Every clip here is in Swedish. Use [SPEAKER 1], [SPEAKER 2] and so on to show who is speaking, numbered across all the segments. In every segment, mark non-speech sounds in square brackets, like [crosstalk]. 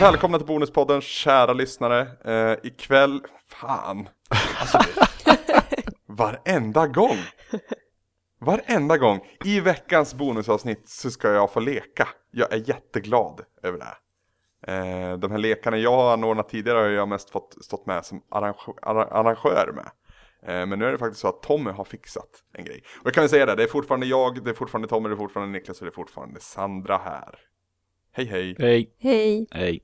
[SPEAKER 1] välkomna till Bonuspodden, kära lyssnare. Eh, ikväll, fan. Alltså, varenda gång. Varenda gång. I veckans bonusavsnitt så ska jag få leka. Jag är jätteglad över det. här. Eh, de här lekarna jag har anordnat tidigare har jag mest fått stått med som arrangö- arra- arrangör med. Eh, Men nu är det faktiskt så att Tommy har fixat en grej. Och jag kan väl säga det, det är fortfarande jag, det är fortfarande Tommy, det är fortfarande Niklas och det är fortfarande Sandra här. Hej hej!
[SPEAKER 2] Hej.
[SPEAKER 3] Hej.
[SPEAKER 2] Hej.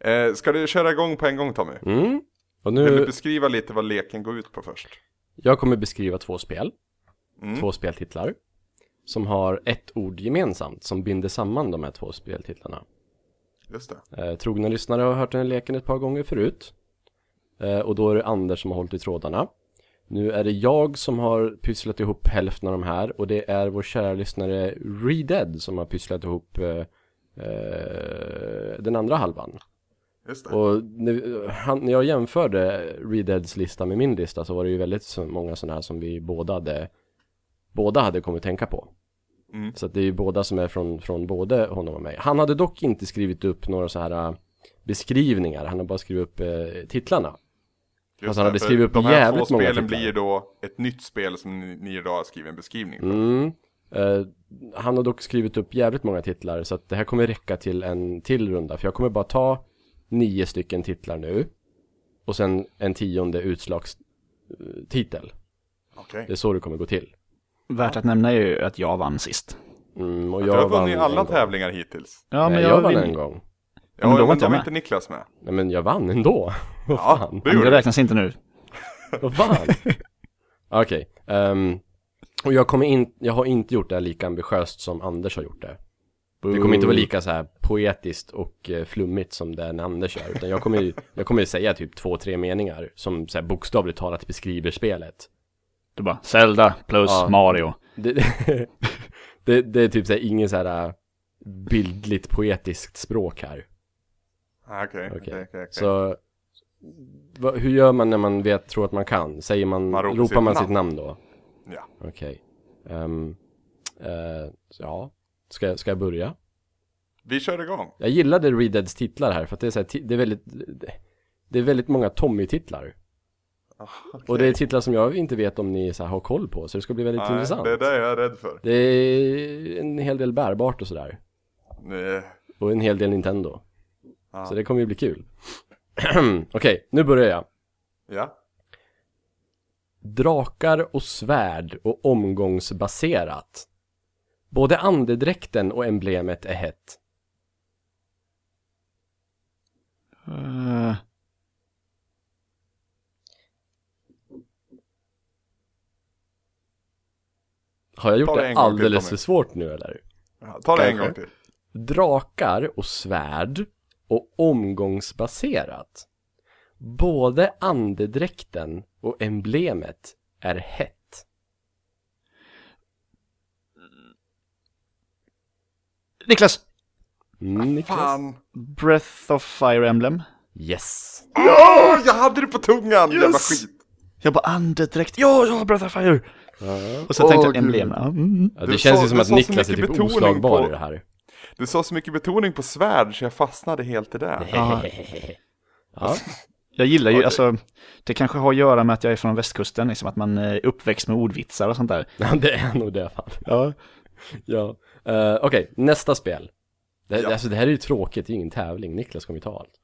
[SPEAKER 1] Eh, ska du köra igång på en gång Tommy?
[SPEAKER 2] Mm. Och
[SPEAKER 1] Vill du
[SPEAKER 2] nu,
[SPEAKER 1] beskriva lite vad leken går ut på först?
[SPEAKER 2] jag kommer beskriva två spel,
[SPEAKER 1] Mm.
[SPEAKER 2] två speltitlar, som har ett ord gemensamt som binder samman de här två speltitlarna.
[SPEAKER 1] Just det.
[SPEAKER 2] Eh, trogna lyssnare har hört den här leken ett par gånger förut. Eh, och då är det Anders som har hållit i trådarna. Nu är det jag som har pysslat ihop hälften av de här och det är vår kära lyssnare Redead som har pysslat ihop eh, eh, den andra halvan.
[SPEAKER 1] Just det.
[SPEAKER 2] Och nu, han, när jag jämförde Redeads lista med min lista så var det ju väldigt så- många sådana här som vi båda hade, båda hade kommit tänka på.
[SPEAKER 1] Mm.
[SPEAKER 2] Så att det är ju båda som är från, från både honom och mig. Han hade dock inte skrivit upp några så här äh, beskrivningar, han har bara skrivit upp eh, titlarna.
[SPEAKER 1] Just
[SPEAKER 2] alltså, han hade
[SPEAKER 1] för
[SPEAKER 2] skrivit upp
[SPEAKER 1] de här
[SPEAKER 2] jävligt
[SPEAKER 1] två
[SPEAKER 2] många
[SPEAKER 1] spelen
[SPEAKER 2] titlar.
[SPEAKER 1] blir då ett nytt spel som ni, ni idag har skrivit en beskrivning på.
[SPEAKER 2] Mm. Eh, han har dock skrivit upp jävligt många titlar så att det här kommer räcka till en till runda. För jag kommer bara ta nio stycken titlar nu. Och sen en tionde utslagstitel.
[SPEAKER 1] Okej.
[SPEAKER 2] Det är så det kommer gå till.
[SPEAKER 4] Värt att nämna är ju att jag vann sist.
[SPEAKER 2] Mm, och
[SPEAKER 1] Du har vunnit
[SPEAKER 2] vann
[SPEAKER 1] alla
[SPEAKER 2] en gång.
[SPEAKER 1] tävlingar hittills.
[SPEAKER 4] Ja,
[SPEAKER 2] Nej, jag, vann
[SPEAKER 4] vinner-
[SPEAKER 2] en gång.
[SPEAKER 1] Ja,
[SPEAKER 4] men då var
[SPEAKER 1] men
[SPEAKER 4] inte
[SPEAKER 1] då var
[SPEAKER 4] jag med.
[SPEAKER 1] inte Niklas med.
[SPEAKER 2] Nej, men jag vann [laughs] ändå. Vad
[SPEAKER 1] Ja,
[SPEAKER 2] fan?
[SPEAKER 1] det
[SPEAKER 4] Men
[SPEAKER 1] gjorde
[SPEAKER 4] Det
[SPEAKER 1] du.
[SPEAKER 4] räknas inte nu.
[SPEAKER 2] Vad fan? Okej. ehm, och jag kommer in, jag har inte gjort det här lika ambitiöst som Anders har gjort det. Det kommer inte vara lika så här poetiskt och eh, flummigt som det är när Anders gör. Utan jag kommer, ju- [laughs] jag kommer ju säga typ två, tre meningar som så här bokstavligt talat beskriver spelet.
[SPEAKER 4] Du bara, Zelda plus
[SPEAKER 2] Ja.
[SPEAKER 4] Mario.
[SPEAKER 2] Det, [laughs] det, det är typ så här ingen så här eh, bildligt poetiskt språk här.
[SPEAKER 1] Ah, Okej,
[SPEAKER 2] Okej.
[SPEAKER 1] okej, okej. okej.
[SPEAKER 2] Så va, hur gör man när man vet, tror att man kan? Säger man,
[SPEAKER 1] Man ropar
[SPEAKER 2] ropar
[SPEAKER 1] sitt
[SPEAKER 2] man
[SPEAKER 1] namn.
[SPEAKER 2] sitt namn då?
[SPEAKER 1] Ja.
[SPEAKER 2] Okej. Ehm, eh, så ja, ska, jag- ska jag börja?
[SPEAKER 1] Vi kör igång.
[SPEAKER 2] Jag gillade Red Deads titlar här för att det är, så här, ti- det är väldigt Det är väldigt många Tommy-titlar
[SPEAKER 1] Ah,
[SPEAKER 2] Och det är titlar som jag inte vet om ni så här, har koll på så det ska bli väldigt
[SPEAKER 1] Nej,
[SPEAKER 2] intressant
[SPEAKER 1] Ah, Det är det jag är rädd för.
[SPEAKER 2] Det är en hel del bärbart och sådär
[SPEAKER 1] Nej.
[SPEAKER 2] Och en hel del Nintendo
[SPEAKER 1] Ja.
[SPEAKER 2] Så det kommer ju bli kul [clears throat] Okej, nu börjar jag
[SPEAKER 1] Ja.
[SPEAKER 2] Drakar och svärd och omgångsbaserat Både andedräkten och emblemet är hett
[SPEAKER 4] Eh,
[SPEAKER 2] Har
[SPEAKER 1] Ta
[SPEAKER 2] jag gjort
[SPEAKER 1] det
[SPEAKER 2] det
[SPEAKER 1] en gång till,
[SPEAKER 2] alldeles
[SPEAKER 1] Tommy.
[SPEAKER 2] för svårt nu eller?
[SPEAKER 1] Ja, Ta det en
[SPEAKER 2] Kanske.
[SPEAKER 1] gång till.
[SPEAKER 2] drakar och svärd och omgångsbaserat. Både andedräkten och emblemet är hett.
[SPEAKER 4] Niklas!
[SPEAKER 2] Mm, Niklas?
[SPEAKER 1] Fan.
[SPEAKER 4] Breath of Fire Emblem.
[SPEAKER 2] Yes.
[SPEAKER 1] Åh, jag hade det på tungan! Jävla
[SPEAKER 4] Yes.
[SPEAKER 1] skit.
[SPEAKER 4] Jag bara, andedräkt. Ja, ja, Breath of Fire! Och så
[SPEAKER 1] Åh,
[SPEAKER 4] tänkte jag
[SPEAKER 1] gud.
[SPEAKER 4] emblem. Ja, mm.
[SPEAKER 2] Ja,
[SPEAKER 1] Du
[SPEAKER 2] det känns
[SPEAKER 1] sa-
[SPEAKER 2] ju som
[SPEAKER 1] du
[SPEAKER 2] att
[SPEAKER 1] sa så
[SPEAKER 2] Niklas är
[SPEAKER 1] mycket
[SPEAKER 2] typ
[SPEAKER 1] betoning
[SPEAKER 2] oslagbar
[SPEAKER 1] på-
[SPEAKER 2] i det här.
[SPEAKER 1] Du sa så mycket betoning på svärd så jag fastnade helt i det.
[SPEAKER 4] Ja.
[SPEAKER 2] Ja.
[SPEAKER 4] Jag gillar
[SPEAKER 1] Ja,
[SPEAKER 4] ju,
[SPEAKER 1] det-
[SPEAKER 4] alltså, det kanske har att göra med att jag är från västkusten, liksom att man eh, är uppväxt med ordvitsar och sånt där.
[SPEAKER 2] [laughs] ja, det är nog det fan.
[SPEAKER 4] Ja.
[SPEAKER 2] Ja. Eh, Okej, nästa spel. Det,
[SPEAKER 1] Ja.
[SPEAKER 2] Alltså det här är ju tråkigt, det är ju ingen tävling. Niklas kommer ju ta allt.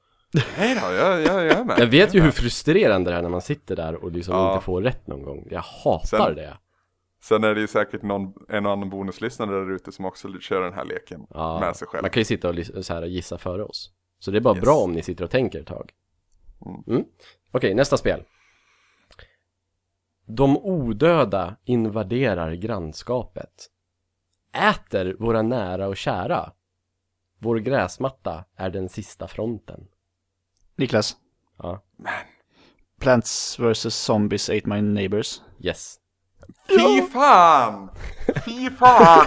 [SPEAKER 1] Nej då, jag, jag, jag är med.
[SPEAKER 2] Jag vet ju hur frustrerande det är när man sitter där och liksom
[SPEAKER 1] Ja.
[SPEAKER 2] inte får rätt någon gång. Jag hatar
[SPEAKER 1] Sen-
[SPEAKER 2] det.
[SPEAKER 1] Sen är det ju säkert någon, en och annan bonuslyssnare där ute som också kör den här leken
[SPEAKER 2] Ja,
[SPEAKER 1] med sig själv.
[SPEAKER 2] Man kan ju sitta och lys- så här, gissa före oss. Så det är bara
[SPEAKER 1] Yes.
[SPEAKER 2] bra om ni sitter och tänker ett tag.
[SPEAKER 1] Mm.
[SPEAKER 2] Mm. Okej, nästa spel. De odöda invaderar grannskapet. Äter våra nära och kära. Vår gräsmatta är den sista fronten.
[SPEAKER 4] Niklas,
[SPEAKER 2] Ja,
[SPEAKER 4] Plants vs. Zombies Ate My Neighbors.
[SPEAKER 2] yes.
[SPEAKER 1] Fy fan! Fy fan!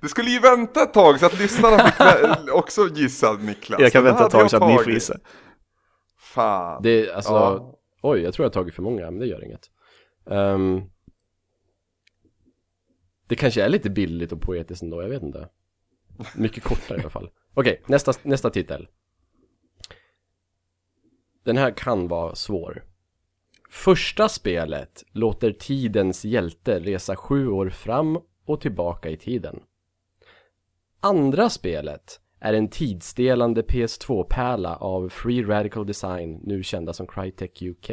[SPEAKER 1] Du skulle ju vänta ett tag så att lyssnarna fick vä- också gissa Niklas.
[SPEAKER 4] Jag kan
[SPEAKER 1] Det
[SPEAKER 4] vänta
[SPEAKER 1] hade
[SPEAKER 4] ett tag
[SPEAKER 1] jag
[SPEAKER 4] så att ni får
[SPEAKER 1] tagit.
[SPEAKER 4] gissa.
[SPEAKER 1] Fan.
[SPEAKER 2] Det är alltså,
[SPEAKER 1] Ja.
[SPEAKER 2] oj, jag tror jag har tagit för många, men det gör inget. Ehm, det kanske är lite billigt och poetiskt ändå, jag vet inte. Mycket kortare i alla fall. Okej, nästa, nästa titel. Den här kan vara svår. Första spelet låter tidens hjälte resa sju år fram och tillbaka i tiden. Andra spelet är en tidsdelande PS2-pärla av Free Radical Design, nu kända som Crytek UK.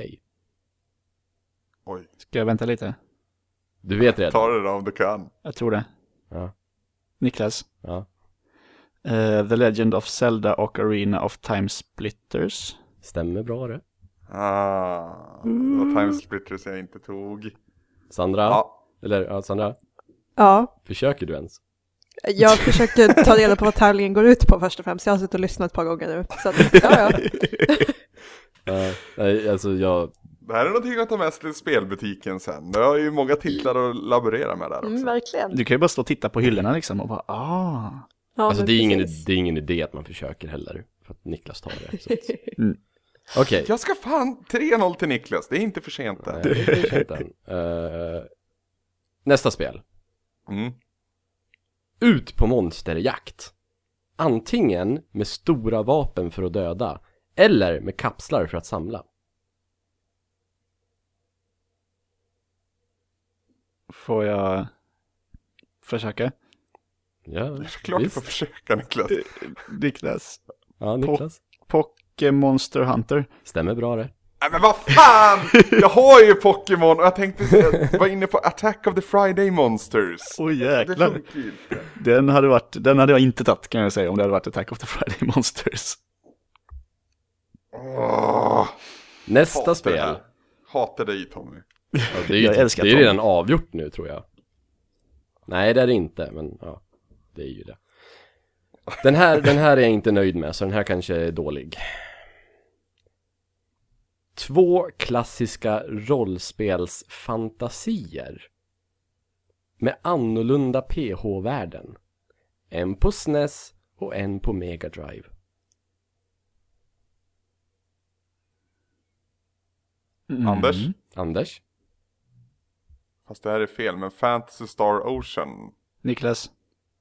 [SPEAKER 1] Oj,
[SPEAKER 4] Ska jag vänta lite?
[SPEAKER 2] Du vet redan?
[SPEAKER 1] ta det då om du kan.
[SPEAKER 4] Jag tror det.
[SPEAKER 2] Ja,
[SPEAKER 4] Niklas.
[SPEAKER 2] ja.
[SPEAKER 4] Eh, The Legend of Zelda och Arena of Time Splitters.
[SPEAKER 2] Stämmer bra det.
[SPEAKER 1] Ah, det var Time Splitters jag inte tog.
[SPEAKER 2] Sandra?
[SPEAKER 1] Ja,
[SPEAKER 2] Eller ja, Sandra?
[SPEAKER 3] Ja,
[SPEAKER 2] Försöker du ens?
[SPEAKER 3] jag försökte ta reda på vad tävlingen går ut på först och främst. Jag har suttit och lyssnat ett par gånger nu. Så att, ja, [laughs] ja.
[SPEAKER 2] Eh, nej, alltså jag...
[SPEAKER 1] det här är någonting att ta med sig till spelbutiken sen. Det har ju många titlar att laborera med där också.
[SPEAKER 3] Mm, verkligen.
[SPEAKER 4] Du kan ju bara stå och titta på hyllorna liksom och bara ah.
[SPEAKER 3] Ja,
[SPEAKER 2] Alltså
[SPEAKER 3] men
[SPEAKER 2] det är, ingen,
[SPEAKER 3] precis.
[SPEAKER 2] det är ingen idé att man försöker heller. För att Niklas tar det. så
[SPEAKER 1] [laughs]
[SPEAKER 2] att-
[SPEAKER 1] Mm.
[SPEAKER 2] Okej.
[SPEAKER 1] Jag ska fan 3-0 till Niklas, det är inte för sent än.
[SPEAKER 2] Nej, det är skönt än. Eh, nästa spel.
[SPEAKER 1] Mm.
[SPEAKER 2] Ut på monsterjakt. Antingen med stora vapen för att döda. Eller med kapslar för att samla.
[SPEAKER 4] Får jag försöka?
[SPEAKER 2] Ja,
[SPEAKER 1] Det är [laughs] klart du får
[SPEAKER 2] visst.
[SPEAKER 1] försöka Niklas.
[SPEAKER 4] Niklas.
[SPEAKER 2] Ja, Niklas.
[SPEAKER 4] Pokémon Monster Hunter.
[SPEAKER 2] Stämmer bra det.
[SPEAKER 1] Nej men vad fan! Jag har ju Pokémon och jag tänkte jag var inne på Attack of the Friday Monsters.
[SPEAKER 4] Åh oh,
[SPEAKER 1] Det funkar ju inte.
[SPEAKER 4] Den hade, varit, den hade jag inte tagit kan jag säga om det hade varit Attack of the Friday [laughs] Monsters.
[SPEAKER 1] Åh,
[SPEAKER 2] Nästa
[SPEAKER 1] hatar det
[SPEAKER 2] spel.
[SPEAKER 1] här. Hatar dig Tommy.
[SPEAKER 2] Ja, det är ju
[SPEAKER 4] Jag älskar
[SPEAKER 2] det är ju
[SPEAKER 4] Tom.
[SPEAKER 2] redan avgjort nu tror jag. Nej det är det inte, men ja, det är ju det. Den här, den här är jag inte nöjd med, så den här kanske är dålig. Två klassiska rollspelsfantasier. Med annorlunda PH-värden. En på SNES och en på Mega Drive. Mm.
[SPEAKER 1] Anders?
[SPEAKER 2] Anders?
[SPEAKER 1] Fast det här är fel, men Fantasy Star Ocean.
[SPEAKER 4] Niklas.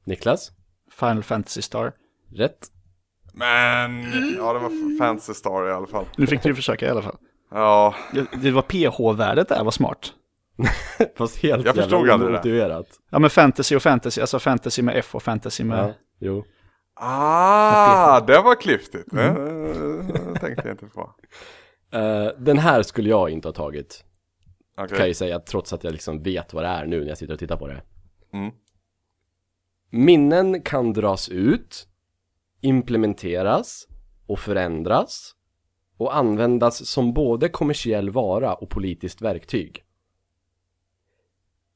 [SPEAKER 2] Niklas?
[SPEAKER 4] Final Fantasy Star.
[SPEAKER 2] Rätt? [laughs]
[SPEAKER 1] Men, ja det var Fantasy Star i alla fall.
[SPEAKER 4] Nu fick du försöka i alla fall.
[SPEAKER 1] Ja,
[SPEAKER 4] Ja, Det var PH-värdet där, vad smart.
[SPEAKER 2] Fast helt
[SPEAKER 1] Jag förstod aldrig det.
[SPEAKER 2] omotiverat.
[SPEAKER 4] Ja men fantasy och fantasy, alltså fantasy med F och fantasy med...
[SPEAKER 2] Ja, jo.
[SPEAKER 1] ah, det var klyftigt. Det
[SPEAKER 2] Mm.
[SPEAKER 1] eh, tänkte jag inte på.
[SPEAKER 2] Eh, den här skulle jag inte ha tagit,
[SPEAKER 1] Okej,
[SPEAKER 2] kan jag ju säga, trots att jag liksom vet vad det är nu när jag sitter och tittar på det.
[SPEAKER 1] Mm.
[SPEAKER 2] Minnen kan dras ut, implementeras och förändras och användas som både kommersiell vara och politiskt verktyg.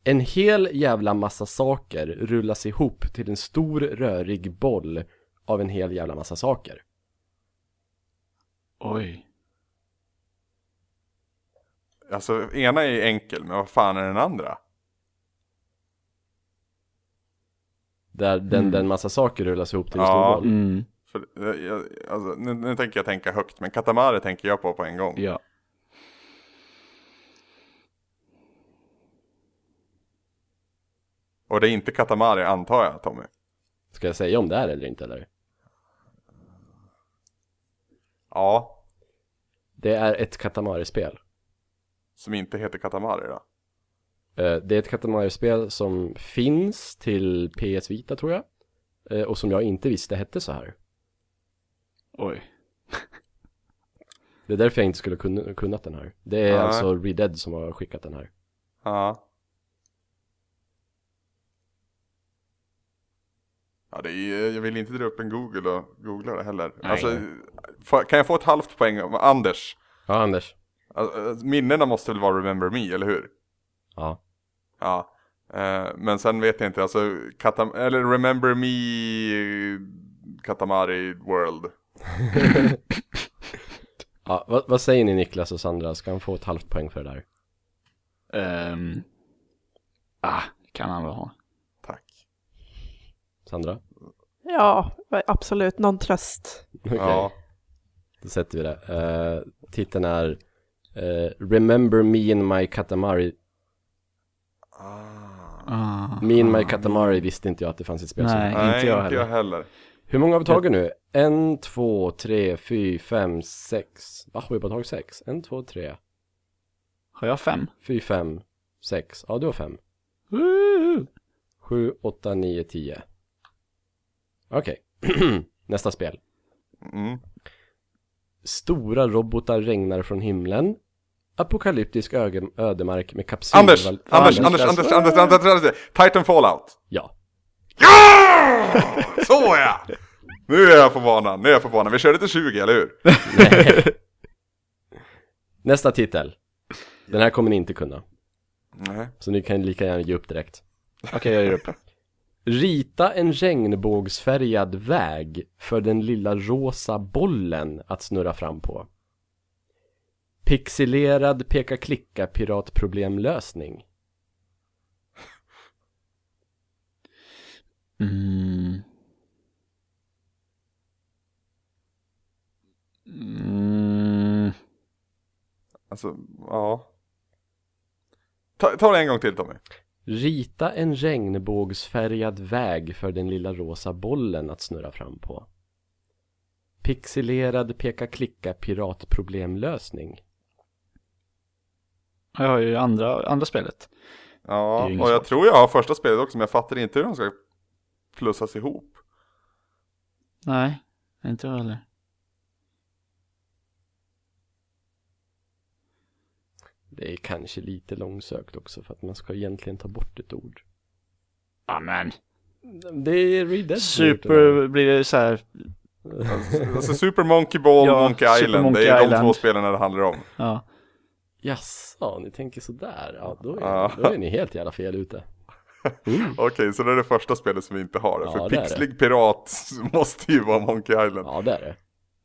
[SPEAKER 2] En hel jävla massa saker rullas ihop till en stor rörig boll av en hel jävla massa saker.
[SPEAKER 4] Oj.
[SPEAKER 1] alltså ena är ju enkel, men vad fan är den andra?
[SPEAKER 2] Där den, den massa saker rullas ihop till en
[SPEAKER 1] Mm. Ja.
[SPEAKER 2] stor boll.
[SPEAKER 4] Mm,
[SPEAKER 1] För, eh, jag, alltså, nu, nu tänker jag tänka högt, men Katamari tänker jag på på en gång.
[SPEAKER 4] ja.
[SPEAKER 1] Och det är inte Katamari antar jag Tommy.
[SPEAKER 2] Ska jag säga om det är eller inte eller?
[SPEAKER 1] Ja,
[SPEAKER 2] Det är ett Katamari-spel.
[SPEAKER 1] som inte heter Katamari då.
[SPEAKER 2] Eh, Det är ett Katamari-spel som finns till PS Vita tror jag. Eh, Och som jag inte visste hette så här.
[SPEAKER 4] Oj.
[SPEAKER 2] Det är därför jag inte skulle kunna, kunnat den här. Det är
[SPEAKER 1] Nej.
[SPEAKER 2] alltså Redhead som har skickat den här.
[SPEAKER 1] Ja. Ja, det är, eh, jag vill inte dra upp en Google och googla det heller.
[SPEAKER 2] Nej.
[SPEAKER 1] Alltså, får- kan jag få ett halvt poäng av Anders?
[SPEAKER 2] Ja, Anders.
[SPEAKER 1] Alltså, minnena måste väl vara Remember Me, eller hur?
[SPEAKER 2] Ja.
[SPEAKER 1] Ja. Eh, Men sen vet jag inte, alltså, Katam eller Remember Me Katamari World.
[SPEAKER 2] ja vad, vad säger ni Niklas och Sandra? Ska han få ett halvt poäng för det där?
[SPEAKER 4] Ehm. ah, kan han väl ha.
[SPEAKER 1] Tack.
[SPEAKER 2] Sandra? [laughs]
[SPEAKER 3] Ja, absolut. Någon tröst.
[SPEAKER 2] Okej,
[SPEAKER 1] Ja.
[SPEAKER 2] då sätter vi det. Eh, titeln är eh, Remember Me and My Katamari.
[SPEAKER 1] Ah.
[SPEAKER 4] Ah.
[SPEAKER 2] Me and My Katamari visste inte jag att det fanns ett spel som
[SPEAKER 4] Nej,
[SPEAKER 1] Nej,
[SPEAKER 4] inte jag
[SPEAKER 1] inte jag heller.
[SPEAKER 2] Hur många har vi tagit nu? En, två, tre, fyra, fem, sex. Va, har vi bara tagit sex? En, två, tre,
[SPEAKER 4] Har jag fem?
[SPEAKER 2] fyra, fem, sex. Ja, du har fem.
[SPEAKER 4] Woo!
[SPEAKER 2] Sju, åtta, nio, tio. Okej. [clears throat] Nästa spel.
[SPEAKER 1] Mm.
[SPEAKER 2] Stora robotar regnar från himlen. Apokalyptisk öge- ödemark med kapsyl...
[SPEAKER 1] Anders,
[SPEAKER 2] val-
[SPEAKER 1] Anders,
[SPEAKER 2] valkar-
[SPEAKER 1] Anders, Anders, Anders, Anders, Anders, Anders, Titan Fallout.
[SPEAKER 2] Ja.
[SPEAKER 1] Ja! Så ja! Nu är jag på banan, nu är jag på banan. Vi körde till 20, eller hur?
[SPEAKER 2] Nästa titel. Den här kommer ni inte kunna.
[SPEAKER 1] Nej.
[SPEAKER 2] Så ni kan lika gärna ge upp direkt.
[SPEAKER 4] Okej, jag ger upp.
[SPEAKER 2] Rita en regnbågsfärgad väg för den lilla rosa bollen att snurra fram på. Pixelerad peka-klicka piratproblemlösning.
[SPEAKER 4] [laughs] Mm. Mm.
[SPEAKER 1] Alltså, ja. Ta, ta det en gång till Tommy.
[SPEAKER 2] Rita en regnbågsfärgad väg för den lilla rosa bollen att snurra fram på. Pixelerad peka-klicka piratproblemlösning.
[SPEAKER 4] Jag har ju andra, andra spelet.
[SPEAKER 1] Ja,
[SPEAKER 4] Det är ju inget
[SPEAKER 1] och jag
[SPEAKER 4] svårt.
[SPEAKER 1] tror jag har första spelet också, men jag fattar inte hur de ska plussas ihop.
[SPEAKER 4] Nej, inte jag heller.
[SPEAKER 2] Det är kanske lite långsökt också för att man ska egentligen ta bort ett ord.
[SPEAKER 4] Amen.
[SPEAKER 2] Det är Red Dead som har gjort den här.
[SPEAKER 4] Super blir det så här.
[SPEAKER 1] [laughs] Alltså Super Monkey Ball,
[SPEAKER 4] Ja,
[SPEAKER 1] Monkey
[SPEAKER 4] Super
[SPEAKER 1] Island,
[SPEAKER 4] Monkey
[SPEAKER 1] det är de
[SPEAKER 4] Island.
[SPEAKER 1] två spelen det handlar om.
[SPEAKER 4] Ja.
[SPEAKER 2] Jaså, ni tänker sådär? Ja, då är,
[SPEAKER 1] Ja.
[SPEAKER 2] då är ni helt jävla fel ute.
[SPEAKER 1] Okej, så det är det första spelet som vi inte har.
[SPEAKER 2] Ja,
[SPEAKER 1] för
[SPEAKER 2] det är det.
[SPEAKER 1] Pixlig Pirat [laughs] måste ju vara Monkey Island.
[SPEAKER 2] Ja, det är det.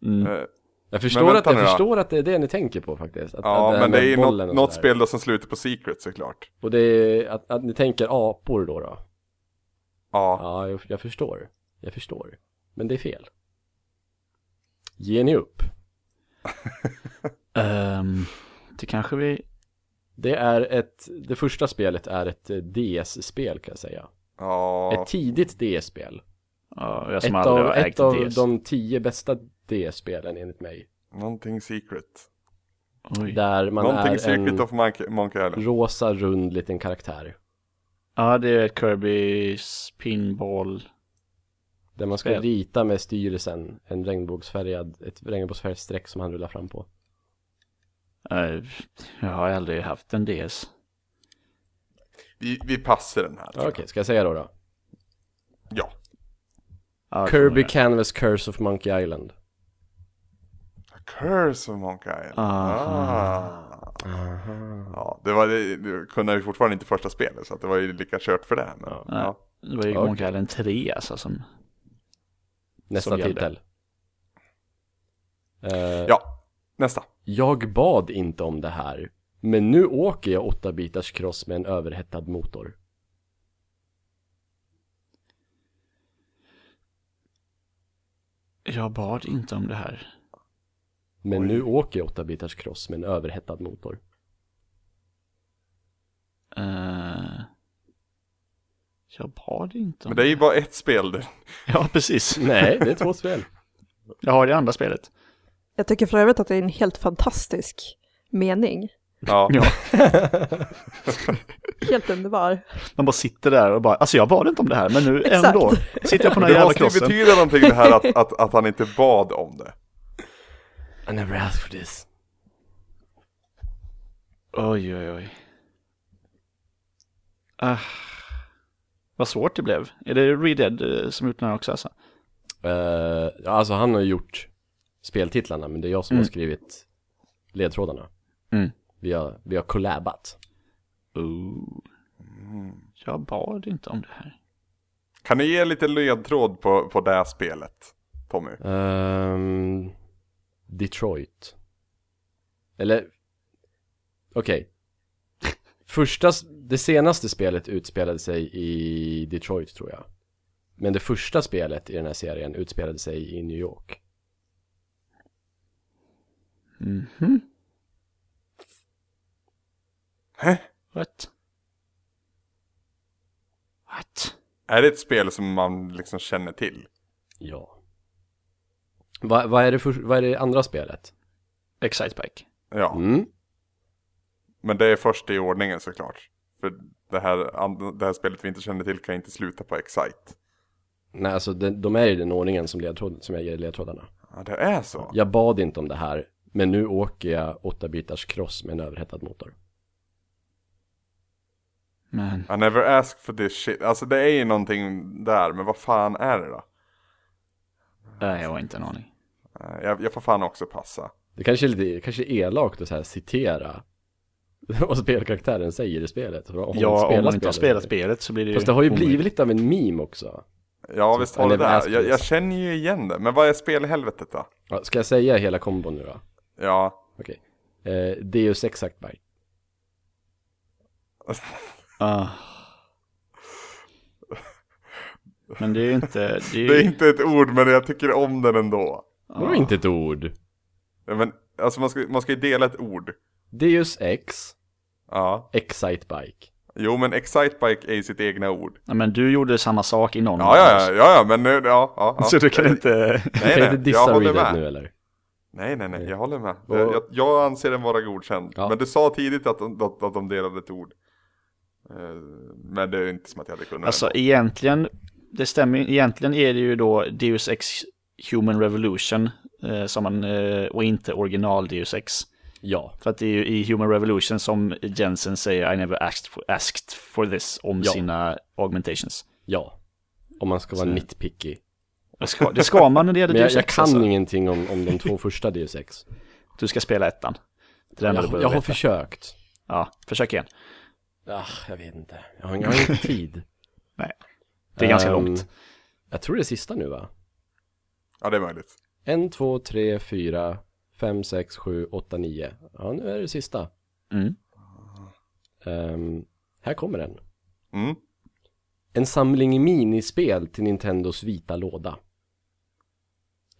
[SPEAKER 4] Mm.
[SPEAKER 1] Eh,
[SPEAKER 2] Jag förstår, att,
[SPEAKER 1] vänta
[SPEAKER 2] jag
[SPEAKER 1] nu då.
[SPEAKER 2] förstår att det är det ni tänker på faktiskt. Att,
[SPEAKER 1] Ja,
[SPEAKER 2] att här
[SPEAKER 1] men det
[SPEAKER 2] med
[SPEAKER 1] är ju
[SPEAKER 2] bollen
[SPEAKER 1] något,
[SPEAKER 2] och
[SPEAKER 1] något
[SPEAKER 2] sådär.
[SPEAKER 1] spel då som slutar på Secret såklart.
[SPEAKER 2] Och det är att, att ni tänker apor då då?
[SPEAKER 1] Ja,
[SPEAKER 2] Ja, jag, jag förstår. Jag förstår. Men det är fel. Ge ni upp.
[SPEAKER 4] Ehm, det kanske vi...
[SPEAKER 2] Det är ett, det första spelet är ett eh, DS-spel kan jag säga.
[SPEAKER 1] ja.
[SPEAKER 2] Ett tidigt DS-spel.
[SPEAKER 4] Ja, jag som
[SPEAKER 2] Ett
[SPEAKER 4] aldrig
[SPEAKER 2] av,
[SPEAKER 4] har ägt
[SPEAKER 2] ett
[SPEAKER 4] en
[SPEAKER 2] av
[SPEAKER 4] DS.
[SPEAKER 2] de tio bästa DS-spelen enligt mig.
[SPEAKER 1] någonting Secret.
[SPEAKER 4] Oj.
[SPEAKER 2] Där man
[SPEAKER 1] någonting
[SPEAKER 2] är
[SPEAKER 1] Secret
[SPEAKER 2] en
[SPEAKER 1] of Monkey, Monkey Island.
[SPEAKER 2] rosa rund liten karaktär.
[SPEAKER 4] Ja, det är ett Kirby's pinball.
[SPEAKER 2] Där man ska
[SPEAKER 4] Spel.
[SPEAKER 2] rita med styrelsen en regnbågsfärgad, ett regnbågsfärgat streck som han rullar fram på.
[SPEAKER 4] Eh, Jag har aldrig haft en DS.
[SPEAKER 1] Vi, vi passar den här. tror
[SPEAKER 2] Okej,
[SPEAKER 1] jag.
[SPEAKER 2] ska jag säga då då?
[SPEAKER 1] Ja,
[SPEAKER 4] Ja, det
[SPEAKER 2] Kirby
[SPEAKER 4] kommer jag.
[SPEAKER 2] Canvas Curse of Monkey Island.
[SPEAKER 1] A Curse of Monkey Island. Ah. Ja, det var det, det kunde ju fortfarande inte första spelet så att det var ju lika kört för det. Men, ja.
[SPEAKER 4] Nej. Det var ju
[SPEAKER 2] Okej.
[SPEAKER 4] Monkey Island 3 alltså som...
[SPEAKER 2] Nästa
[SPEAKER 4] Som gällde.
[SPEAKER 2] titel. Eh,
[SPEAKER 1] ja, nästa.
[SPEAKER 2] Jag bad inte om det här, men nu åker jag 8 bitars cross med en överhettad motor.
[SPEAKER 4] Jag bad inte om det här.
[SPEAKER 2] Men nu åker jag 8 bitars cross med en överhettad motor.
[SPEAKER 4] Eh, jag bad inte om
[SPEAKER 1] Men det är ju bara ett spel du.
[SPEAKER 4] [laughs] Ja, precis.
[SPEAKER 2] Nej, det är två spel.
[SPEAKER 4] [laughs] Jag har det andra spelet.
[SPEAKER 3] Jag tycker för övrigt att det är en helt fantastisk mening.
[SPEAKER 1] Ja.
[SPEAKER 4] Ja.
[SPEAKER 3] Helt underbar.
[SPEAKER 4] Man bara sitter där och bara, alltså jag bad inte om det här, men [laughs] nu
[SPEAKER 3] Exakt.
[SPEAKER 4] ändå. Sitter jag på den här
[SPEAKER 1] [laughs] Det
[SPEAKER 4] jävla
[SPEAKER 1] måste ju
[SPEAKER 4] krossen.
[SPEAKER 1] betyda någonting det här att, att, att han inte bad om det.
[SPEAKER 2] [laughs] I never asked for this.
[SPEAKER 4] Oj, oj, oj. Ah, vad svårt det blev. Är det Red Dead eh, som gjort den här också alltså?
[SPEAKER 2] Eh, ja, alltså han har ju gjort speltitlarna, men det är jag som har skrivit ledtrådarna.
[SPEAKER 4] Mm.
[SPEAKER 2] Vi har, vi har collabat.
[SPEAKER 4] Ooh. Jag bad inte om det här.
[SPEAKER 1] Kan du ge lite ledtråd på, på det här spelet, Tommy?
[SPEAKER 2] Ehm, Detroit. Eller, okej. Första, s- det senaste spelet utspelade sig i Detroit tror jag. Men det första spelet i den här serien utspelade sig i New York.
[SPEAKER 4] What? What?
[SPEAKER 1] Är det ett spel som man liksom känner till?
[SPEAKER 2] Ja. Va, vad, är det för, vad är det andra spelet?
[SPEAKER 4] Excite Bike.
[SPEAKER 1] Ja,
[SPEAKER 2] Mm.
[SPEAKER 1] men det är först i ordningen såklart. För det här, and- det här spelet vi inte känner till kan inte sluta på Excite.
[SPEAKER 2] Nej, alltså de, de är i den ordningen som, ledtråd, som jag ger ledtrådarna.
[SPEAKER 1] Ja, det är så.
[SPEAKER 2] Jag bad inte om det här, men nu åker jag 8 bitars cross med en överhettad motor.
[SPEAKER 4] Men
[SPEAKER 1] I never ask for this shit. Alltså det är ju någonting där, men vad fan är det då?
[SPEAKER 4] nej, jag har inte en aning.
[SPEAKER 1] Eh, Jag, jag får fan också passa.
[SPEAKER 2] Det kanske är lite kanske är elakt att så här citera [laughs] vad spelkaraktären säger i spelet. Om man
[SPEAKER 4] Ja, om
[SPEAKER 2] spelar
[SPEAKER 4] man inte har
[SPEAKER 2] spelet.
[SPEAKER 4] spelat spelet så blir det ju...
[SPEAKER 2] Fast det har ju
[SPEAKER 4] omöjligt.
[SPEAKER 2] blivit lite av en meme också.
[SPEAKER 1] Ja
[SPEAKER 2] Så,
[SPEAKER 1] visst
[SPEAKER 2] I
[SPEAKER 1] har det
[SPEAKER 2] never ask
[SPEAKER 1] där.
[SPEAKER 2] for
[SPEAKER 1] Jag,
[SPEAKER 2] this.
[SPEAKER 1] jag känner ju igen det. Men vad är spelhelvetet då?
[SPEAKER 2] Ja, Ska jag säga hela kombon nu då?
[SPEAKER 1] Ja. [laughs]
[SPEAKER 2] Okej. Eh, Deus Ex Act Bite.
[SPEAKER 4] Ah. Men det är ju inte... Det är
[SPEAKER 1] Det är
[SPEAKER 4] ju...
[SPEAKER 1] inte ett ord men jag tycker om den ändå.
[SPEAKER 2] Det var inte ett ord.
[SPEAKER 1] Ja, Men alltså man ska, man ska ju dela ett ord.
[SPEAKER 2] Deus Ex
[SPEAKER 1] Ja.
[SPEAKER 2] Excite Bike.
[SPEAKER 1] Jo men excitebike är ju sitt egna ord.
[SPEAKER 4] Ja, men du gjorde samma sak i någon
[SPEAKER 1] Ja ja ja, ja, ja men nu, ja. ja,
[SPEAKER 2] [laughs]
[SPEAKER 1] ja.
[SPEAKER 4] Så du kan inte...
[SPEAKER 1] Nej,
[SPEAKER 2] kan
[SPEAKER 1] nej,
[SPEAKER 2] inte
[SPEAKER 1] jag
[SPEAKER 2] dissa
[SPEAKER 1] håller
[SPEAKER 2] Readet
[SPEAKER 1] med.
[SPEAKER 2] nu eller?
[SPEAKER 1] Nej nej nej, jag håller med.
[SPEAKER 2] Och-
[SPEAKER 1] Jag, jag- jag anser den vara godkänd.
[SPEAKER 2] Ja.
[SPEAKER 1] Men du sa tidigt att, de- att, att de delade ett ord. Eh, Men det är inte som att jag hade kunnat.
[SPEAKER 4] Alltså egentligen, det stämmer ju- Egentligen är det ju då Deus Ex Human Revolution eh, som man, eh, och inte original Deus Ex.
[SPEAKER 2] Ja.
[SPEAKER 4] För att det är ju i Human Revolution som Jensen säger I never asked for, asked for this om
[SPEAKER 2] Ja.
[SPEAKER 4] sina augmentations.
[SPEAKER 2] Ja. Om man ska vara
[SPEAKER 4] Så-
[SPEAKER 2] nitpicky.
[SPEAKER 4] Det ska, det ska man när det gäller
[SPEAKER 2] Men jag,
[SPEAKER 4] Deus
[SPEAKER 2] jag
[SPEAKER 4] Ex.
[SPEAKER 2] kan
[SPEAKER 4] Alltså.
[SPEAKER 2] ingenting om, om de två första Deus
[SPEAKER 4] [laughs]
[SPEAKER 2] Ex.
[SPEAKER 4] Du ska spela ettan. Det är det enda du
[SPEAKER 2] Jag, jag
[SPEAKER 4] behöver
[SPEAKER 2] har
[SPEAKER 4] veta.
[SPEAKER 2] försökt.
[SPEAKER 4] Ja, försök igen.
[SPEAKER 2] Ah, jag vet inte. Jag har, jag har
[SPEAKER 4] [laughs]
[SPEAKER 2] inte tid.
[SPEAKER 4] Nej. Det är ganska
[SPEAKER 2] Ehm,
[SPEAKER 4] långt.
[SPEAKER 2] Jag tror det är sista nu va?
[SPEAKER 1] Ja det är möjligt.
[SPEAKER 2] 1, 2, 3, 4, 5, 6, 7, 8, 9. Ja, nu är det sista.
[SPEAKER 4] Mm.
[SPEAKER 2] Ehm, här kommer den.
[SPEAKER 1] Mm.
[SPEAKER 2] En samling minispel till Nintendos vita låda.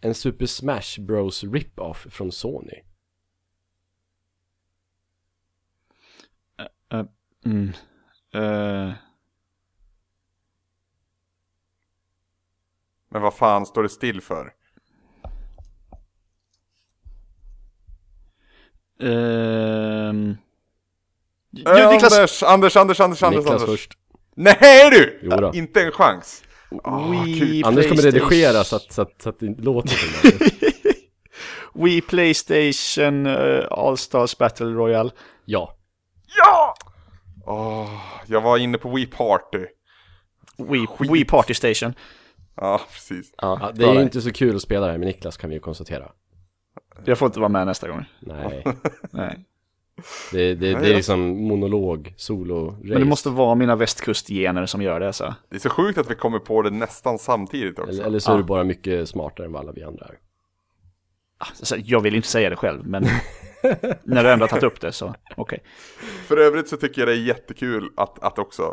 [SPEAKER 2] En Super Smash Bros rip-off från Sony.
[SPEAKER 4] Mm. Eh,
[SPEAKER 1] Men vad fan står det still för?
[SPEAKER 4] ehm. Du,
[SPEAKER 1] Eh,
[SPEAKER 4] Niklas!
[SPEAKER 1] Anders, Anders, Anders, Anders, Anders,
[SPEAKER 2] Niklas
[SPEAKER 1] Anders.
[SPEAKER 2] först.
[SPEAKER 1] Nej du!
[SPEAKER 2] Jo då.
[SPEAKER 1] Inte en chans. Ah,
[SPEAKER 4] Wii
[SPEAKER 1] kul.
[SPEAKER 2] Anders kommer
[SPEAKER 4] PlayStation.
[SPEAKER 2] redigera så att, så att, så att det inte låter som
[SPEAKER 4] [laughs]
[SPEAKER 2] det.
[SPEAKER 4] Wii Playstation eh, All Stars Battle Royale.
[SPEAKER 2] Ja.
[SPEAKER 1] Ja! Åh, jag var inne på Wii Party.
[SPEAKER 4] Wii, Wii Party Station.
[SPEAKER 1] Ja, precis.
[SPEAKER 2] ja. Det är ju inte så kul att spela det här med Niklas kan vi ju konstatera.
[SPEAKER 4] Jag får inte vara med nästa gång.
[SPEAKER 2] Nej.
[SPEAKER 4] Nej.
[SPEAKER 2] Det, det, det är liksom monolog, solo, race.
[SPEAKER 4] Men det måste vara mina västkustgener som gör det så.
[SPEAKER 1] Det är så sjukt att vi kommer på det nästan samtidigt också.
[SPEAKER 2] Eller, eller så är du bara mycket smartare än vad alla vi andra är.
[SPEAKER 4] Alltså, jag vill inte säga det själv, [laughs] men när du ändå har tagit upp det så okej.
[SPEAKER 1] För övrigt så tycker jag det är jättekul att, att också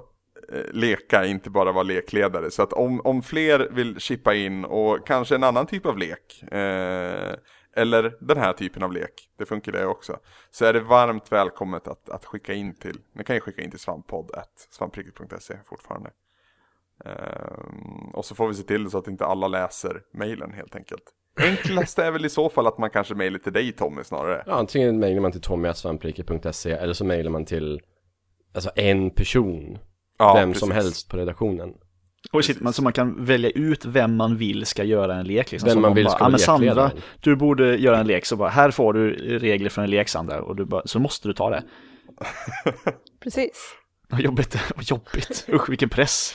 [SPEAKER 1] eh, leka, inte bara vara lekledare. Så att om, om fler vill chippa in och kanske en annan typ av lek, eh, eller den här typen av lek, det funkar det också, så är det varmt välkommet att, att skicka in till, ni kan ju skicka in till svamppodd.svampriket.se fortfarande. Ehm, och så får vi se till så att inte alla läser mejlen helt enkelt. Enklast är väl i så fall att man kanske mejlar till dig Tommy snarare.
[SPEAKER 2] Ja, antingen mejlar man till tommy.svamprike.se eller så mejlar man till alltså en person.
[SPEAKER 1] Ja,
[SPEAKER 2] vem som
[SPEAKER 1] precis.
[SPEAKER 2] helst på redaktionen.
[SPEAKER 4] Och shit, man, så man kan välja ut vem man vill ska göra en lek. Liksom.
[SPEAKER 2] Vem
[SPEAKER 4] så
[SPEAKER 2] man vill
[SPEAKER 4] bara,
[SPEAKER 2] ska
[SPEAKER 4] "Ah, men
[SPEAKER 2] vara
[SPEAKER 4] Sandra,
[SPEAKER 2] lekledaren."
[SPEAKER 4] du borde göra en lek. Så bara, här får du regler från en lek Sandra. Och du bara, så måste du ta det.
[SPEAKER 3] Precis.
[SPEAKER 4] Vad jobbigt. [laughs] Vad jobbigt. Usch, vilken press.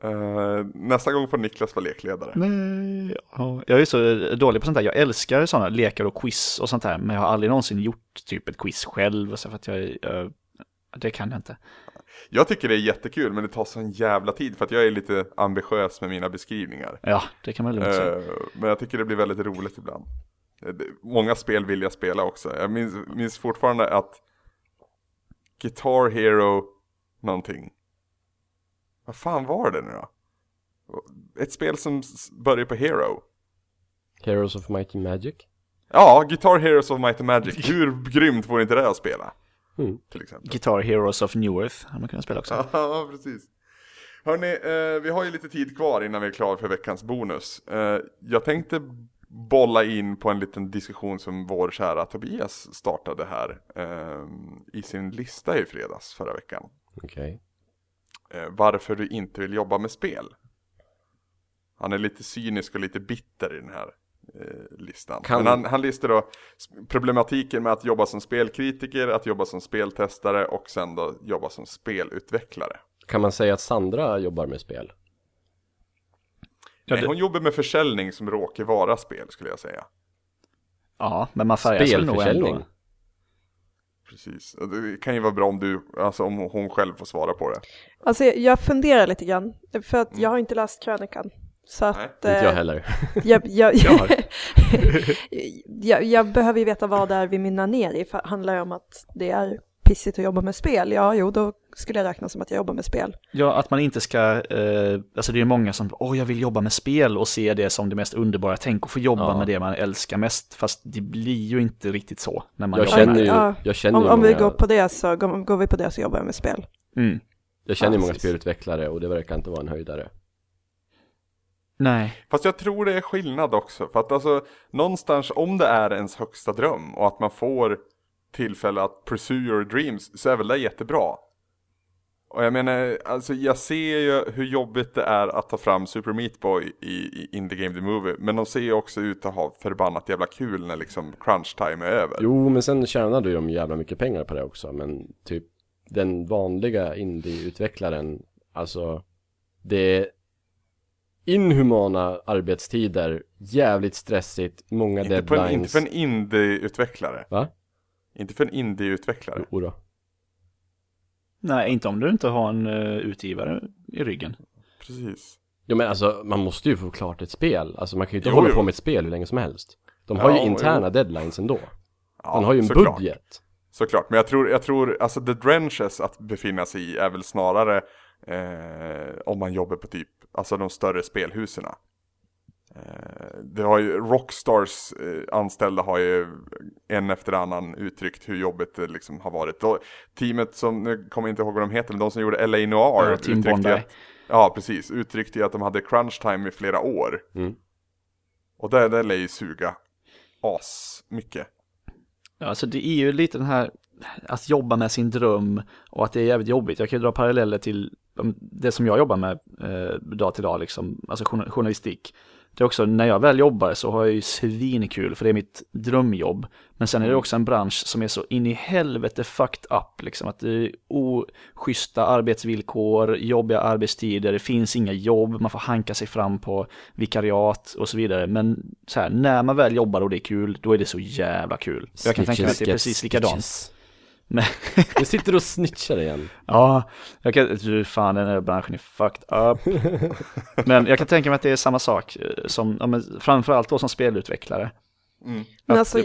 [SPEAKER 1] Eh, nästa gång får Niklas vara lekledare.
[SPEAKER 4] Nej, ja, jag är så dålig på sånt där. Jag älskar sådana lekar och quiz och sånt där, men jag har aldrig någonsin gjort typ ett quiz själv. och Så för att jag, jag, det kan jag inte.
[SPEAKER 1] Jag tycker det är jättekul men det tar sån jävla tid för att jag är lite ambitiös med mina beskrivningar.
[SPEAKER 4] Ja, det kan man lugnt säga.
[SPEAKER 1] Eh, men jag tycker det blir väldigt roligt ibland. Eh, det- Många spel vill jag spela också. Jag minns, minns fortfarande att Guitar Hero någonting. Vad fan var det nu då? Ett spel som s- börjar på Hero.
[SPEAKER 2] Heroes of Might and Magic.
[SPEAKER 1] Ja, Guitar Heroes of Might and Magic. Hur grymt vore inte det att spela?
[SPEAKER 2] Mm.
[SPEAKER 1] Till exempel. [laughs]
[SPEAKER 4] Guitar Heroes of New Earth har man kunnat spela också.
[SPEAKER 1] Ja, precis. Hörni, eh, vi har ju lite tid kvar innan vi är klara för veckans bonus. Eh, jag tänkte bolla in på en liten diskussion som vår kära Tobias startade här eh, i sin lista i fredags förra veckan.
[SPEAKER 2] Okej.
[SPEAKER 1] Eh, varför du inte vill jobba med spel. Han är lite cynisk och lite bitter i den här eh, listan.
[SPEAKER 2] Kan-
[SPEAKER 1] Men han, han listar då s- problematiken med att jobba som spelkritiker, att jobba som speltestare och sen då jobba som spelutvecklare.
[SPEAKER 2] Kan man säga att Sandra jobbar med spel?
[SPEAKER 4] Ja,
[SPEAKER 1] Nej,
[SPEAKER 4] det,
[SPEAKER 1] hon jobbar med försäljning som råkar vara spel skulle jag säga.
[SPEAKER 4] ja men man färgas väl nog
[SPEAKER 2] Spelförsäljning?
[SPEAKER 4] ändå.
[SPEAKER 1] Precis. Och Det kan ju vara bra om, du, alltså om hon själv får svara på det.
[SPEAKER 3] Alltså jag- jag funderar lite grann, för att jag har inte läst krönikan. Så att,
[SPEAKER 1] Nej,
[SPEAKER 2] Inte jag
[SPEAKER 3] eh,
[SPEAKER 2] heller.
[SPEAKER 3] jag, jag,
[SPEAKER 2] Jag har.
[SPEAKER 3] [laughs] jag, jag behöver ju veta vad det är vi mynnar ner i, för handlar det om att det är pissigt att jobba med spel, ja jo då skulle jag räkna som att jag jobbar med spel.
[SPEAKER 4] Ja, att man inte ska, eh, alltså det är många som, åh jag vill jobba med spel och se det som det mest underbara, tänk att få jobba
[SPEAKER 2] Ja.
[SPEAKER 4] med det man älskar mest, fast det blir ju inte riktigt så när man
[SPEAKER 2] Jag
[SPEAKER 4] jobbar
[SPEAKER 2] känner
[SPEAKER 4] med
[SPEAKER 2] ju,
[SPEAKER 3] Ja.
[SPEAKER 2] jag känner
[SPEAKER 3] Om,
[SPEAKER 2] ju
[SPEAKER 3] om vi
[SPEAKER 2] många,
[SPEAKER 3] går på det så, går, går vi på det så jobbar jag med spel.
[SPEAKER 4] Mm.
[SPEAKER 2] jag känner ju
[SPEAKER 4] Ja,
[SPEAKER 2] många
[SPEAKER 4] precis.
[SPEAKER 2] spelutvecklare och det verkar inte vara en höjdare.
[SPEAKER 4] Nej,
[SPEAKER 1] Fast jag tror det är skillnad också. För att alltså någonstans om det är ens högsta dröm och att man får tillfälle att pursue your dreams så är väl det jättebra. Och jag menar, alltså jag ser ju hur jobbigt det är att ta fram Super Meat Boy i, i In the Game The Movie. Men de ser ju också ut att ha förbannat jävla kul när liksom crunch time är över.
[SPEAKER 2] Jo, men sen tjänade ju de jävla mycket pengar på det också. Men typ den vanliga indieutvecklaren, alltså det är inhumana arbetstider, jävligt stressigt, många
[SPEAKER 1] Inte för, en, inte
[SPEAKER 2] deadlines.
[SPEAKER 1] för en indie-utvecklare.
[SPEAKER 2] Va?
[SPEAKER 1] Inte för en indie-utvecklare.
[SPEAKER 2] Jo då.
[SPEAKER 4] nej, inte om du inte har en eh, utgivare i ryggen.
[SPEAKER 1] Precis.
[SPEAKER 2] Ja men alltså man måste ju få klart ett spel. Alltså man kan ju inte
[SPEAKER 1] Jo,
[SPEAKER 2] hålla
[SPEAKER 1] jo.
[SPEAKER 2] på med ett spel hur länge som helst. De har
[SPEAKER 1] Ja,
[SPEAKER 2] ju interna deadlines ändå.
[SPEAKER 1] Ja,
[SPEAKER 2] Man har ju en
[SPEAKER 1] såklart.
[SPEAKER 2] budget.
[SPEAKER 1] Såklart, men jag tror, jag tror alltså the drenches att befinna sig i är väl snarare eh, om man jobbar på typ, alltså de större spelhusen. Eh, det har ju, Rockstars eh, anställda har ju en efter annan uttryckt hur jobbigt det liksom har varit. Då, teamet som, nu kommer jag inte ihåg vad de heter, men de som gjorde LA Noir
[SPEAKER 4] Ja, Team
[SPEAKER 1] uttryckte ju
[SPEAKER 4] Bondi.
[SPEAKER 1] att, ja, precis, uttryckte ju att de hade crunch time i flera år.
[SPEAKER 2] Mm.
[SPEAKER 1] Och det, det lär ju suga as mycket.
[SPEAKER 4] Ja, alltså det är ju lite den här att jobba med sin dröm och att det är jävligt jobbigt. Jag kan ju dra paralleller till um, det som jag jobbar med eh, dag till dag, liksom, alltså journa- journalistik. Det är också, när jag väl jobbar så har jag ju svinkul för det är mitt drömjobb. Men sen är det också en bransch som är så in i helvete fucked up, liksom att det är oschyssta arbetsvillkor, jobbiga arbetstider, det finns inga jobb, man får hanka sig fram på vikariat och så vidare. Men så här, när man väl jobbar och det är kul, då är det så jävla kul. Jag kan tänka mig att det är precis likadant. Men-
[SPEAKER 2] Jag sitter och snitchar igen.
[SPEAKER 4] Ja, jag kan, du fan den här branschen är fucked
[SPEAKER 1] [laughs]
[SPEAKER 4] up. Men jag kan tänka mig att det är samma sak eh, som, ja, men framförallt då som spelutvecklare.
[SPEAKER 1] Mm.
[SPEAKER 3] Men
[SPEAKER 4] Att
[SPEAKER 3] alltså,
[SPEAKER 4] det-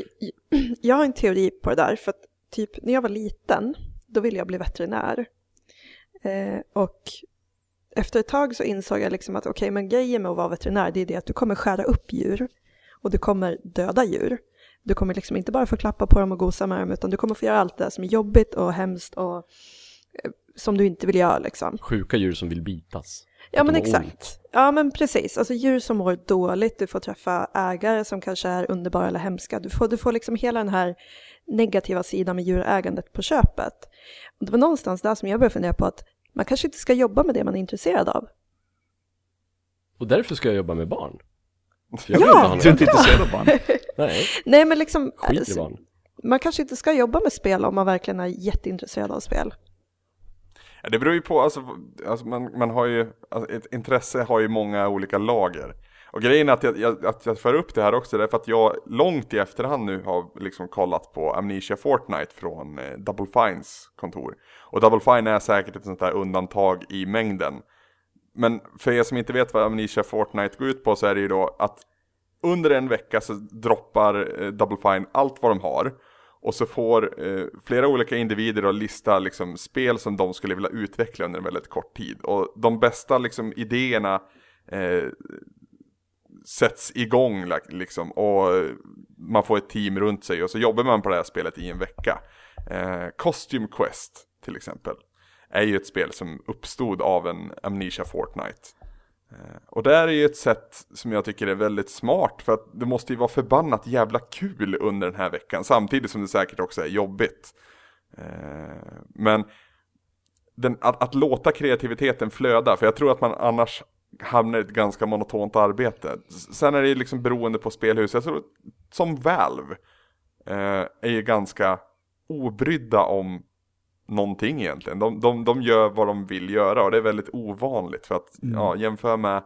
[SPEAKER 3] j- [clears throat] jag har en teori på det där, för att typ när jag var liten, då ville jag bli veterinär. Eh, och efter ett tag så insåg jag liksom att okej, men grejen med att vara veterinär, det är det att du kommer skära upp djur och du kommer döda djur. Du kommer liksom inte bara få klappa på dem och gosa med dem, utan du kommer få göra allt det där som är jobbigt och hemskt och eh, som du inte vill göra liksom.
[SPEAKER 2] Sjuka djur som vill bitas.
[SPEAKER 3] Ja
[SPEAKER 2] Att
[SPEAKER 3] men
[SPEAKER 2] de har
[SPEAKER 3] exakt. Ja men precis, alltså djur som mår dåligt, du får träffa ägare som kanske är underbara eller hemska. Du får, du får liksom hela den här negativa sidan med djurägandet på köpet. Och det var någonstans där som jag började fundera på att man kanske inte ska jobba med det man är intresserad av.
[SPEAKER 2] Och därför ska jag jobba med barn. För
[SPEAKER 3] Ja,
[SPEAKER 2] vill inte ha någon
[SPEAKER 4] Du är inte
[SPEAKER 2] annan.
[SPEAKER 4] intresserad av barn.
[SPEAKER 1] [laughs]
[SPEAKER 2] Nej,
[SPEAKER 3] Nej men liksom,
[SPEAKER 2] skit i barn.
[SPEAKER 3] man kanske inte ska jobba med spel om man verkligen är jätteintresserad av spel.
[SPEAKER 1] Ja, det beror ju på, alltså, alltså man, man har ju, alltså, ett intresse har ju många olika lager. Och grejen är att jag, jag, att jag för upp det här också, därför att jag långt i efterhand nu har liksom kollat på Amnesia Fortnite från eh, Double Fines kontor. Och Double Fine är säkert ett sånt där undantag i mängden. Men för er som inte vet vad Amnesia Fortnite går ut på så är det ju då att under en vecka så droppar eh, Double Fine allt vad de har. Och så får eh, flera olika individer att lista liksom, spel som de skulle vilja utveckla under en väldigt kort tid. Och de bästa liksom, idéerna eh, sätts igång like, liksom, och eh, man får ett team runt sig och så jobbar man på det här spelet i en vecka. Eh, Costume Quest till exempel. är ju ett spel som uppstod av en Amnesia Fortnite. Eh, Och det här är ju ett sätt som jag tycker är väldigt smart för att det måste ju vara förbannat jävla kul under den här veckan samtidigt som det säkert också är jobbigt. Eh, Men den, att, att låta kreativiteten flöda, för jag tror att man annars hamnar i ett ganska monotont arbete. S- Sen är det ju liksom beroende på spelhus, jag tror att- som Valve eh, är ju ganska obrydda om någonting egentligen. De, de, de gör vad de vill göra och det är väldigt ovanligt för att ja, jämför med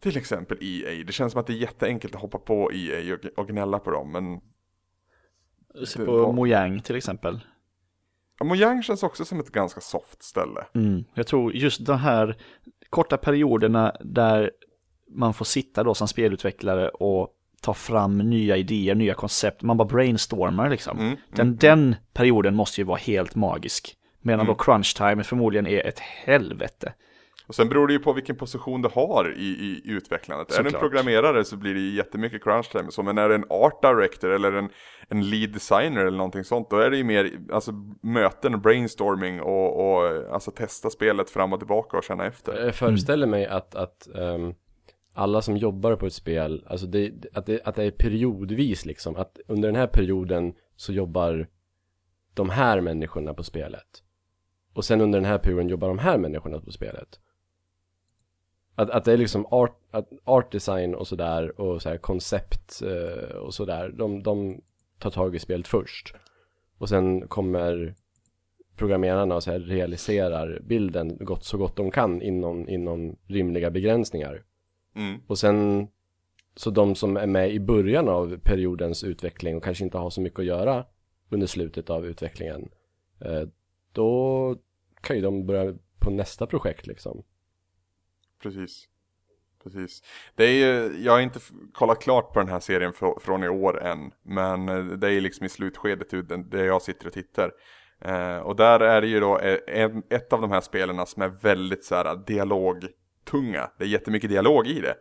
[SPEAKER 1] till exempel EA. Det känns som att det är jätteenkelt att hoppa på EA och, och gnälla på dem. Men
[SPEAKER 4] Se på Mojang till exempel.
[SPEAKER 1] ja, Mojang känns också som ett ganska soft ställe.
[SPEAKER 4] Mm. Jag tror just de här korta perioderna där man får sitta då som spelutvecklare och ta fram nya idéer, nya koncept, man bara brainstormar liksom.
[SPEAKER 1] Mm, Mm.
[SPEAKER 4] Den, den perioden måste ju vara helt magisk. Medan då crunch time förmodligen är ett helvete.
[SPEAKER 1] Och sen beror det ju på vilken position du har i, i i utvecklandet. Är du en
[SPEAKER 4] Såklart.
[SPEAKER 1] programmerare så blir det ju jättemycket crunch time och så, men är du en art director eller en, en lead designer eller någonting sånt, då är det ju mer alltså, möten och brainstorming och, och alltså testa spelet fram och tillbaka och känna
[SPEAKER 4] Eh,
[SPEAKER 1] efter.
[SPEAKER 2] Jag föreställer mig att, att ehm, alla som jobbar på ett spel, alltså det, att, det, att det är periodvis liksom. Att under den här perioden så jobbar de här människorna på spelet. Och sen under den här perioden jobbar de här människorna på spelet. Att, att det är liksom art, att art design och sådär och så här koncept eh, och sådär. De, de tar tag i spelet först. Och sen kommer programmerarna och så här realiserar bilden gott, så gott de kan inom, inom rimliga begränsningar.
[SPEAKER 1] Mm.
[SPEAKER 2] Och sen så de som är med i början av periodens utveckling och kanske inte har så mycket att göra under slutet av utvecklingen. eh, Då kan ju de börja på nästa projekt liksom.
[SPEAKER 1] Precis. Precis. Det är ju, jag har inte f- kollat klart på den här serien frå- från i år än. Men eh, det är liksom i slutskedet ut- den- där jag sitter och tittar. Eh, och där är det ju då eh, en, ett av de här spelarna som är väldigt så här eh, dialogtunga. Det är jättemycket dialog i det.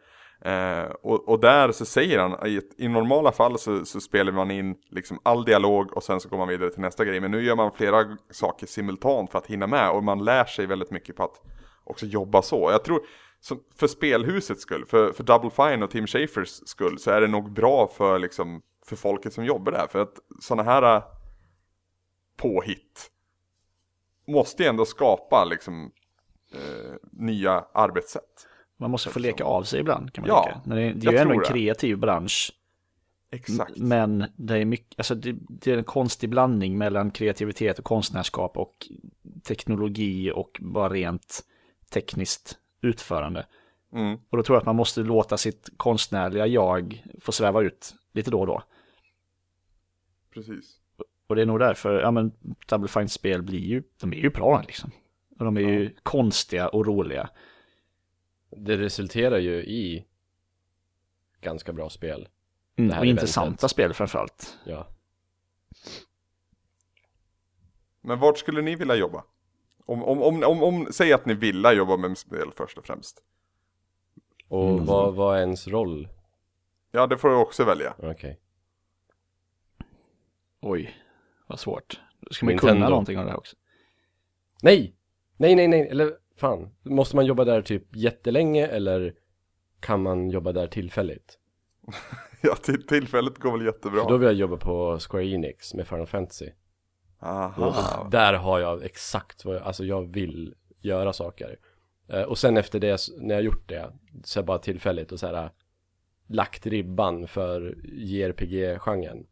[SPEAKER 1] Eh, och, och där så säger han, i, ett- i normala fall så, så spelar man in liksom all dialog och sen så går man vidare till nästa grej. Men nu gör man flera g- saker simultant för att hinna med och man lär sig väldigt mycket på att också jobba så. Jag tror, som, för spelhusets skull, för, för Double Fine och Tim Schafers skull så är det nog bra för, liksom, för folket som jobbar där. För att sådana här eh, påhitt måste ju ändå skapa liksom, eh, nya arbetssätt.
[SPEAKER 4] Man måste få leka av sig ibland kan man
[SPEAKER 1] Ja,
[SPEAKER 4] tycka. Men det, är- det är
[SPEAKER 1] jag
[SPEAKER 4] ju ändå en
[SPEAKER 1] tror det.
[SPEAKER 4] kreativ bransch.
[SPEAKER 1] Exakt.
[SPEAKER 4] Men det är, mycket, alltså det, det är en konstig blandning mellan kreativitet och konstnärskap och teknologi och bara rent tekniskt utförande.
[SPEAKER 1] Mm.
[SPEAKER 4] Och då tror jag att man måste låta sitt konstnärliga jag få sväva ut lite då och då.
[SPEAKER 1] Precis.
[SPEAKER 4] Och det är nog därför, ja men Double Fines spel blir ju, de är ju bra liksom. Och de är ju konstiga och roliga.
[SPEAKER 2] Det resulterar ju i ganska bra spel.
[SPEAKER 1] Mm,
[SPEAKER 2] Det här
[SPEAKER 4] och
[SPEAKER 2] är
[SPEAKER 4] intressanta
[SPEAKER 2] väldigt-
[SPEAKER 4] spel framförallt.
[SPEAKER 2] Ja.
[SPEAKER 1] Men vart skulle ni vilja jobba? Om, om, om, om, om säg att ni ville jobba med spel först och främst.
[SPEAKER 2] Och vad, vad är ens roll?
[SPEAKER 1] Ja, det får du också välja. [laughs]
[SPEAKER 2] Okej.
[SPEAKER 4] Oj, vad svårt. Då Ska man
[SPEAKER 2] Nintendo.
[SPEAKER 4] kunna någonting av det här också?
[SPEAKER 2] Nej! Nej, nej, nej, eller fan. Måste man jobba där typ jättelänge eller kan man jobba där tillfälligt?
[SPEAKER 1] Ja, till, tillfället går väl jättebra.
[SPEAKER 2] För då vill jag jobba på Square Enix med Final Fantasy.
[SPEAKER 1] Aha.
[SPEAKER 2] Där har jag exakt vad jag, alltså jag vill göra saker. Eh, Och sen efter det, när jag gjort det, så är jag bara tillfälligt och så här lagt ribban för JRPG-genren.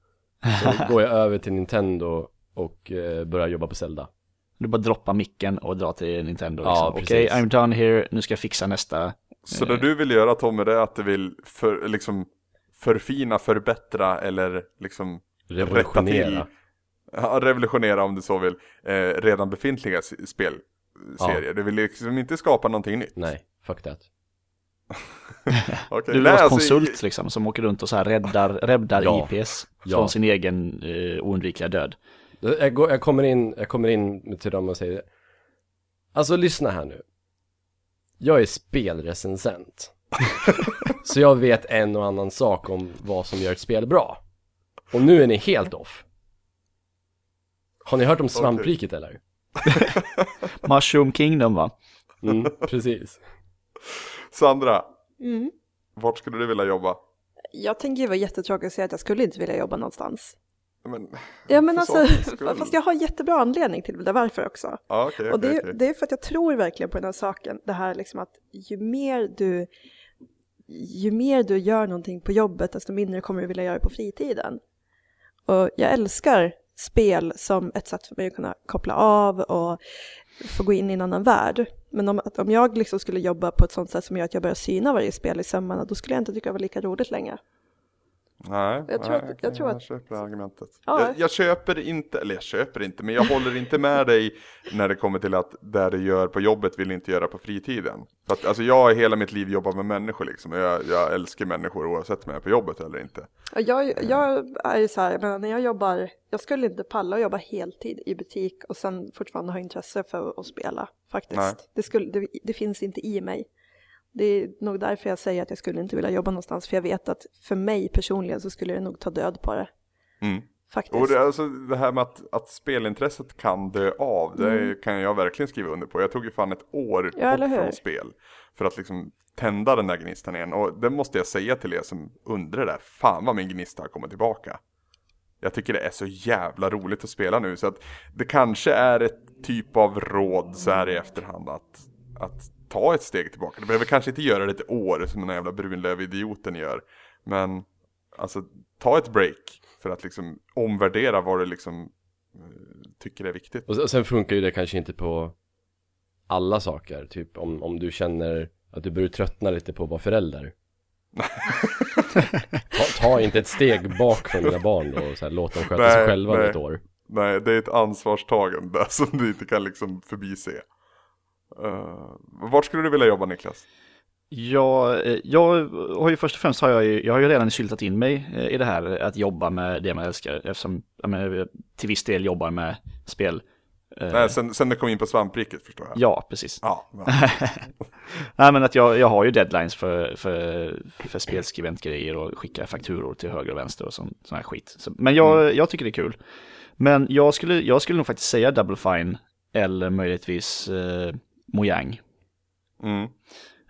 [SPEAKER 2] Så går jag över till Nintendo och eh, börjar jobba på Zelda.
[SPEAKER 4] Du bara droppar micken och drar till Nintendo.
[SPEAKER 2] Ja,
[SPEAKER 4] Liksom.
[SPEAKER 2] precis.
[SPEAKER 4] Okej, I'm done here, nu ska jag fixa nästa.
[SPEAKER 1] Så
[SPEAKER 4] Eh.
[SPEAKER 1] det du vill göra Tommy, det är att du vill för, liksom, förfina, förbättra eller liksom
[SPEAKER 2] Revolutionera.
[SPEAKER 1] Rätta till. ja, revolutionera om du så vill, eh, redan befintliga s- spelserier. Du vill liksom inte skapa någonting nytt.
[SPEAKER 2] Nej, fuck that.
[SPEAKER 1] Okej.
[SPEAKER 4] Du vill
[SPEAKER 1] Nej,
[SPEAKER 4] vara
[SPEAKER 1] alltså,
[SPEAKER 4] konsult
[SPEAKER 1] i-
[SPEAKER 4] liksom, som åker runt och så här räddar, räddar
[SPEAKER 2] Ja.
[SPEAKER 4] IPs
[SPEAKER 2] Ja.
[SPEAKER 4] från sin egen eh, oundvikliga död.
[SPEAKER 2] Jag, går, jag, kommer in, jag kommer in till dem och säger Alltså lyssna här nu. Jag är spelrecensent. så jag vet en och annan sak om vad som gör ett spel bra. Och nu är ni helt off. Har ni hört om svampriket eller?
[SPEAKER 4] Mushroom Kingdom va?
[SPEAKER 2] Mm, precis.
[SPEAKER 1] Sandra,
[SPEAKER 3] Mm.
[SPEAKER 1] vart skulle du vilja jobba?
[SPEAKER 3] Jag tänker ju vara jättetråkig och säga att jag skulle inte vilja jobba någonstans.
[SPEAKER 1] Men,
[SPEAKER 3] Ja men
[SPEAKER 1] För
[SPEAKER 3] alltså,
[SPEAKER 1] sakens skull.
[SPEAKER 3] [laughs] fast jag har jättebra anledning till det varför också.
[SPEAKER 1] ja, okej,
[SPEAKER 3] Och det,
[SPEAKER 1] okej,
[SPEAKER 3] är-
[SPEAKER 1] okej.
[SPEAKER 3] det är för att jag tror verkligen på den här saken, det här liksom att ju mer du, ju mer du gör någonting på jobbet, desto mindre kommer du vilja göra det på fritiden. Och jag älskar spel som ett sätt för mig att kunna koppla av och få gå in i en annan värld. Men om, att om jag liksom skulle jobba på ett sånt sätt som gör att jag börjar syna varje spel i sömmarna, då skulle jag inte tycka det var lika roligt längre.
[SPEAKER 1] Nej,
[SPEAKER 3] Jag tror
[SPEAKER 1] nej,
[SPEAKER 3] att- jag tror att-
[SPEAKER 1] köper det argumentet.
[SPEAKER 3] Ja.
[SPEAKER 1] Jag, jag köper inte, eller jag köper inte, men jag håller inte med dig när det kommer till att där du gör på jobbet vill du inte göra på fritiden. För att, alltså jag har hela mitt liv jobbat med människor liksom, och jag, jag älskar människor oavsett om jag är på jobbet eller inte.
[SPEAKER 3] Ja, Jag, jag är ju så här, men när jag jobbar, jag skulle inte palla att jobba heltid i butik och sen fortfarande ha intresse för att spela
[SPEAKER 1] Nej.
[SPEAKER 3] faktiskt. Det, skulle, det, det finns inte i mig. Det är nog därför jag säger att jag skulle inte vilja jobba någonstans, för jag vet att för mig personligen så skulle jag nog ta död på det
[SPEAKER 1] Mm.
[SPEAKER 3] faktiskt.
[SPEAKER 1] Och det, alltså, det här med att, att spelintresset kan dö av, det
[SPEAKER 3] Mm.
[SPEAKER 1] kan jag verkligen skriva under på. Jag tog ju fan ett år
[SPEAKER 3] Ja, eller
[SPEAKER 1] bort
[SPEAKER 3] hur?
[SPEAKER 1] från spel för att liksom tända den där gnistan igen. Och det måste jag säga till er som undrar där, fan vad min gnista har kommit tillbaka. Jag tycker det är så jävla roligt att spela nu så att det kanske är ett typ av råd så här i efterhand att, att ta ett steg tillbaka. Du behöver kanske inte göra det ett år som den här jävla brunlövidioten gör. Men alltså ta ett break för att liksom omvärdera vad du liksom eh, tycker är viktigt.
[SPEAKER 2] Och sen- sen funkar ju det kanske inte på alla saker. Typ om, om du känner att du börjar tröttna lite på att vara
[SPEAKER 4] [laughs]
[SPEAKER 2] förälder. ta, ta inte ett steg bak från dina barn då och så här, låt dem sköta sig
[SPEAKER 1] Nej,
[SPEAKER 2] själva
[SPEAKER 1] nej.
[SPEAKER 2] ett år.
[SPEAKER 1] Nej, det är ett ansvarstagande [laughs] som du inte kan liksom förbise. Uh, vart skulle du vilja jobba Niklas?
[SPEAKER 4] Jag, eh, jag har ju först och främst har jag, ju, jag har ju redan syltat in mig eh, i det här eh, att jobba med det man älskar eftersom jag menar, jag till viss del jobbar med spel. Eh,
[SPEAKER 1] Nej, sen, sen du kom in på svampriket förstår jag.
[SPEAKER 4] Ja, precis.
[SPEAKER 1] Ja, ja.
[SPEAKER 4] [laughs] Nej, men att jag, jag har ju deadlines för, för, för spelskriventgrejer och skicka fakturor till höger och vänster och sån, sån här skit. Så, men jag, jag tycker det är kul. Men jag skulle, jag skulle nog faktiskt säga Double Fine eller möjligtvis eh, Mojang.
[SPEAKER 1] Mm.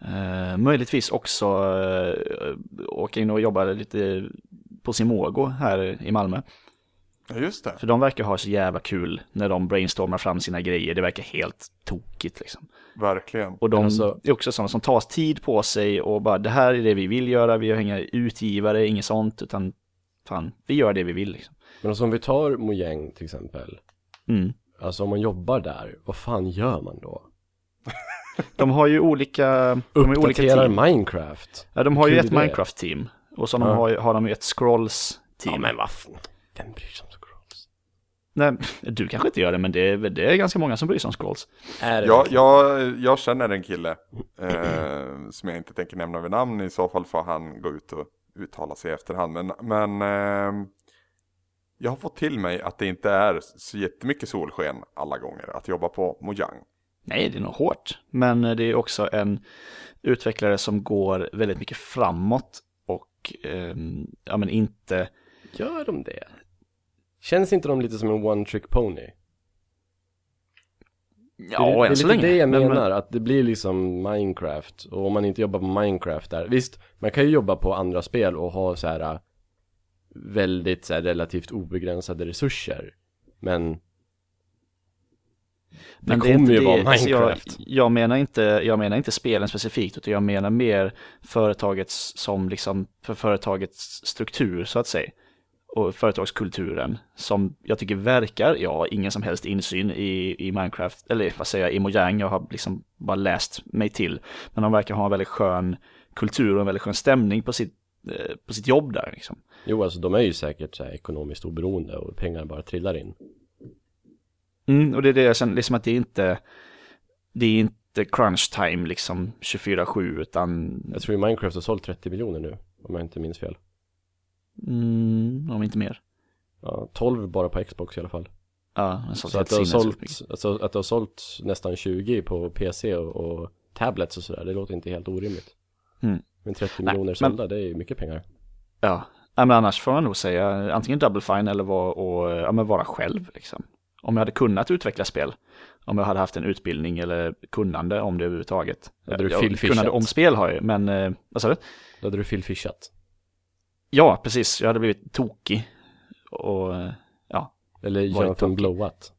[SPEAKER 4] Eh, möjligtvis också eh, åka in och jobba lite på Simogo här i Malmö.
[SPEAKER 1] ja just det.
[SPEAKER 4] För de verkar ha så jävla kul när de brainstormar fram sina grejer. Det verkar helt tokigt liksom.
[SPEAKER 1] Verkligen.
[SPEAKER 4] Och de
[SPEAKER 2] Alltså-
[SPEAKER 4] är också sådana som tar tid på sig och bara det här är det vi vill göra, vi har inga utgivare, inget sånt, utan fan, vi gör det vi vill liksom.
[SPEAKER 2] Men alltså om vi tar Mojang till exempel.
[SPEAKER 4] Mm.
[SPEAKER 2] Alltså om man jobbar där, vad fan gör man då?
[SPEAKER 4] De har ju olika, de har ju olika
[SPEAKER 2] Uppdaterar
[SPEAKER 4] team.
[SPEAKER 2] Minecraft?
[SPEAKER 4] Ja, de har ju
[SPEAKER 2] Kul
[SPEAKER 4] ett
[SPEAKER 2] idé.
[SPEAKER 4] Minecraft-team och så de
[SPEAKER 2] Ja.
[SPEAKER 4] har, ju- har de ju ett Scrolls-team.
[SPEAKER 2] vad fan. Vem bryr sig om Scrolls?
[SPEAKER 4] Nej, [laughs] du kanske inte gör det, men det är, det är ganska många som bryr sig om Scrolls.
[SPEAKER 2] Är det
[SPEAKER 1] Jag,
[SPEAKER 2] verkligen?
[SPEAKER 1] jag, jag känner en kille eh, som jag inte tänker nämna vid namn. I så fall får han gå ut och uttala sig i efterhand. Men, men eh, jag har fått till mig att det inte är så jättemycket solsken alla gånger att jobba på Mojang.
[SPEAKER 4] Nej, det är nog hårt, men det är också en utvecklare som går väldigt mycket framåt och ehm, ja, men inte
[SPEAKER 2] Gör de det? Känns inte de lite som en one trick pony? det,
[SPEAKER 4] Ja,
[SPEAKER 2] det är
[SPEAKER 4] än så
[SPEAKER 2] lite
[SPEAKER 4] länge.
[SPEAKER 2] det jag
[SPEAKER 4] Men-
[SPEAKER 2] menar,
[SPEAKER 4] men-
[SPEAKER 2] att det blir liksom Minecraft. Och om man inte jobbar på Minecraft där. Visst, man kan ju jobba på andra spel och ha så här äh, väldigt så här, relativt obegränsade resurser. Men det
[SPEAKER 4] Men är
[SPEAKER 2] kommer
[SPEAKER 4] inte
[SPEAKER 2] ju vara
[SPEAKER 4] Alltså,
[SPEAKER 2] Minecraft.
[SPEAKER 4] Jag, jag, menar inte, jag menar inte spelen specifikt, utan jag menar mer företagets, som liksom, för företagets struktur så att säga. Och företagskulturen som jag tycker verkar, jag har ingen som helst insyn i, i Minecraft, eller vad säger jag, i Mojang, jag har liksom bara läst mig till. Men de verkar ha en väldigt skön kultur och en väldigt skön stämning på sitt, eh, på sitt jobb där liksom.
[SPEAKER 2] jo, alltså de är ju säkert så här, ekonomiskt oberoende och pengar bara trillar in.
[SPEAKER 4] Mm, och det är det jag känner, liksom att det är inte, det är inte crunch time liksom 24-7 utan,
[SPEAKER 2] Jag tror ju Minecraft har sålt 30 miljoner nu, om jag inte minns fel.
[SPEAKER 4] mm, om inte mer.
[SPEAKER 2] Ja, 12 bara på Xbox i alla fall.
[SPEAKER 4] Ja, men
[SPEAKER 2] Så att det, har sålt, alltså, att det har sålt nästan 20 på PC och, och tablets och sådär, det låter inte helt orimligt.
[SPEAKER 4] Mm.
[SPEAKER 2] Men 30
[SPEAKER 4] Nej,
[SPEAKER 2] miljoner
[SPEAKER 4] men-
[SPEAKER 2] sålda, det är ju mycket pengar.
[SPEAKER 4] Ja, Ja, men annars får man nog säga antingen double fine eller vara, och, ja, men vara själv liksom. om jag hade kunnat utveckla spel. Om jag hade haft en utbildning eller kunnande om det överhuvudtaget.
[SPEAKER 2] Hade du
[SPEAKER 4] Jag-
[SPEAKER 2] Phil Fishat?
[SPEAKER 4] Kunnande om spel har jag ju, men eh, vad sa du?
[SPEAKER 2] Då hade du filfishat.
[SPEAKER 4] Ja, precis. Jag hade blivit tokig. Och, eh, ja, [laughs]
[SPEAKER 2] Eller
[SPEAKER 4] Varit
[SPEAKER 2] Jonathan Blowat.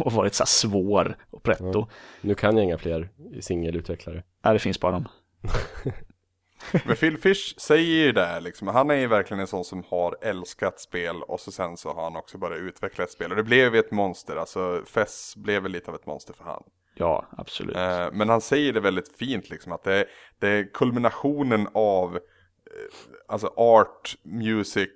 [SPEAKER 4] och varit så här svår och pretto.
[SPEAKER 2] Ja. Nu kan jag inga fler singelutvecklare.
[SPEAKER 4] Nej, det finns bara dem.
[SPEAKER 1] Men Phil Fish säger ju det här, liksom. Han är ju verkligen en sån som har älskat spel och så sen så har han också börjat utveckla ett spel. Och det blev ju ett monster, alltså Fess blev väl lite av ett monster för han.
[SPEAKER 4] Ja, absolut.
[SPEAKER 1] Eh, men han säger det väldigt fint liksom att det, det är kulminationen av eh, alltså art, music,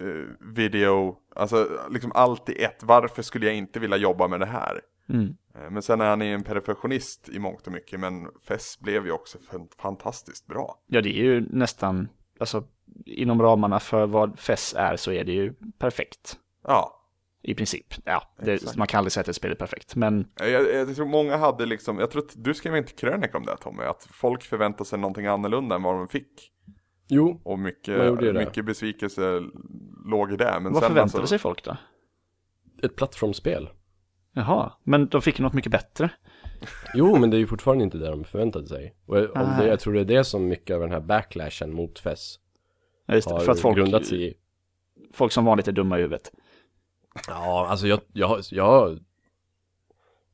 [SPEAKER 1] eh, video, alltså liksom allt i ett. Varför skulle jag inte vilja jobba med det här?
[SPEAKER 4] Mm.
[SPEAKER 1] Eh, Men sen är han ju en perfektionist i mångt och mycket, men Fess blev ju också fan- fantastiskt bra.
[SPEAKER 4] Ja, det är ju nästan, alltså inom ramarna för vad FES är så är det ju perfekt.
[SPEAKER 1] Ja,
[SPEAKER 4] I princip. Ja, det,
[SPEAKER 1] Exakt.
[SPEAKER 4] man kan aldrig säga att ett spel är perfekt, men
[SPEAKER 1] Eh, Jag, jag tror många hade liksom, jag tror att du skrev inte krönika om det Tommy, att folk förväntade sig någonting annorlunda än vad de fick.
[SPEAKER 2] Jo,
[SPEAKER 1] Och
[SPEAKER 2] Man
[SPEAKER 1] mycket,
[SPEAKER 2] gjorde ju det.
[SPEAKER 1] mycket besvikelse låg i det. Men
[SPEAKER 4] vad
[SPEAKER 1] sen
[SPEAKER 4] förväntade
[SPEAKER 1] alltså,
[SPEAKER 4] sig folk då?
[SPEAKER 2] ett plattformsspel.
[SPEAKER 4] Jaha, men de fick ju något mycket bättre.
[SPEAKER 2] Jo, men det är ju fortfarande inte det de förväntade sig. Och jag, om det,
[SPEAKER 4] Nej.
[SPEAKER 2] jag tror det är det som mycket av den här backlashen mot FES
[SPEAKER 4] Ja, just det,
[SPEAKER 2] har
[SPEAKER 4] för att folk,
[SPEAKER 2] grundat sig i.
[SPEAKER 4] folk som vanligt är dumma i huvudet.
[SPEAKER 2] Ja, alltså jag, jag, jag...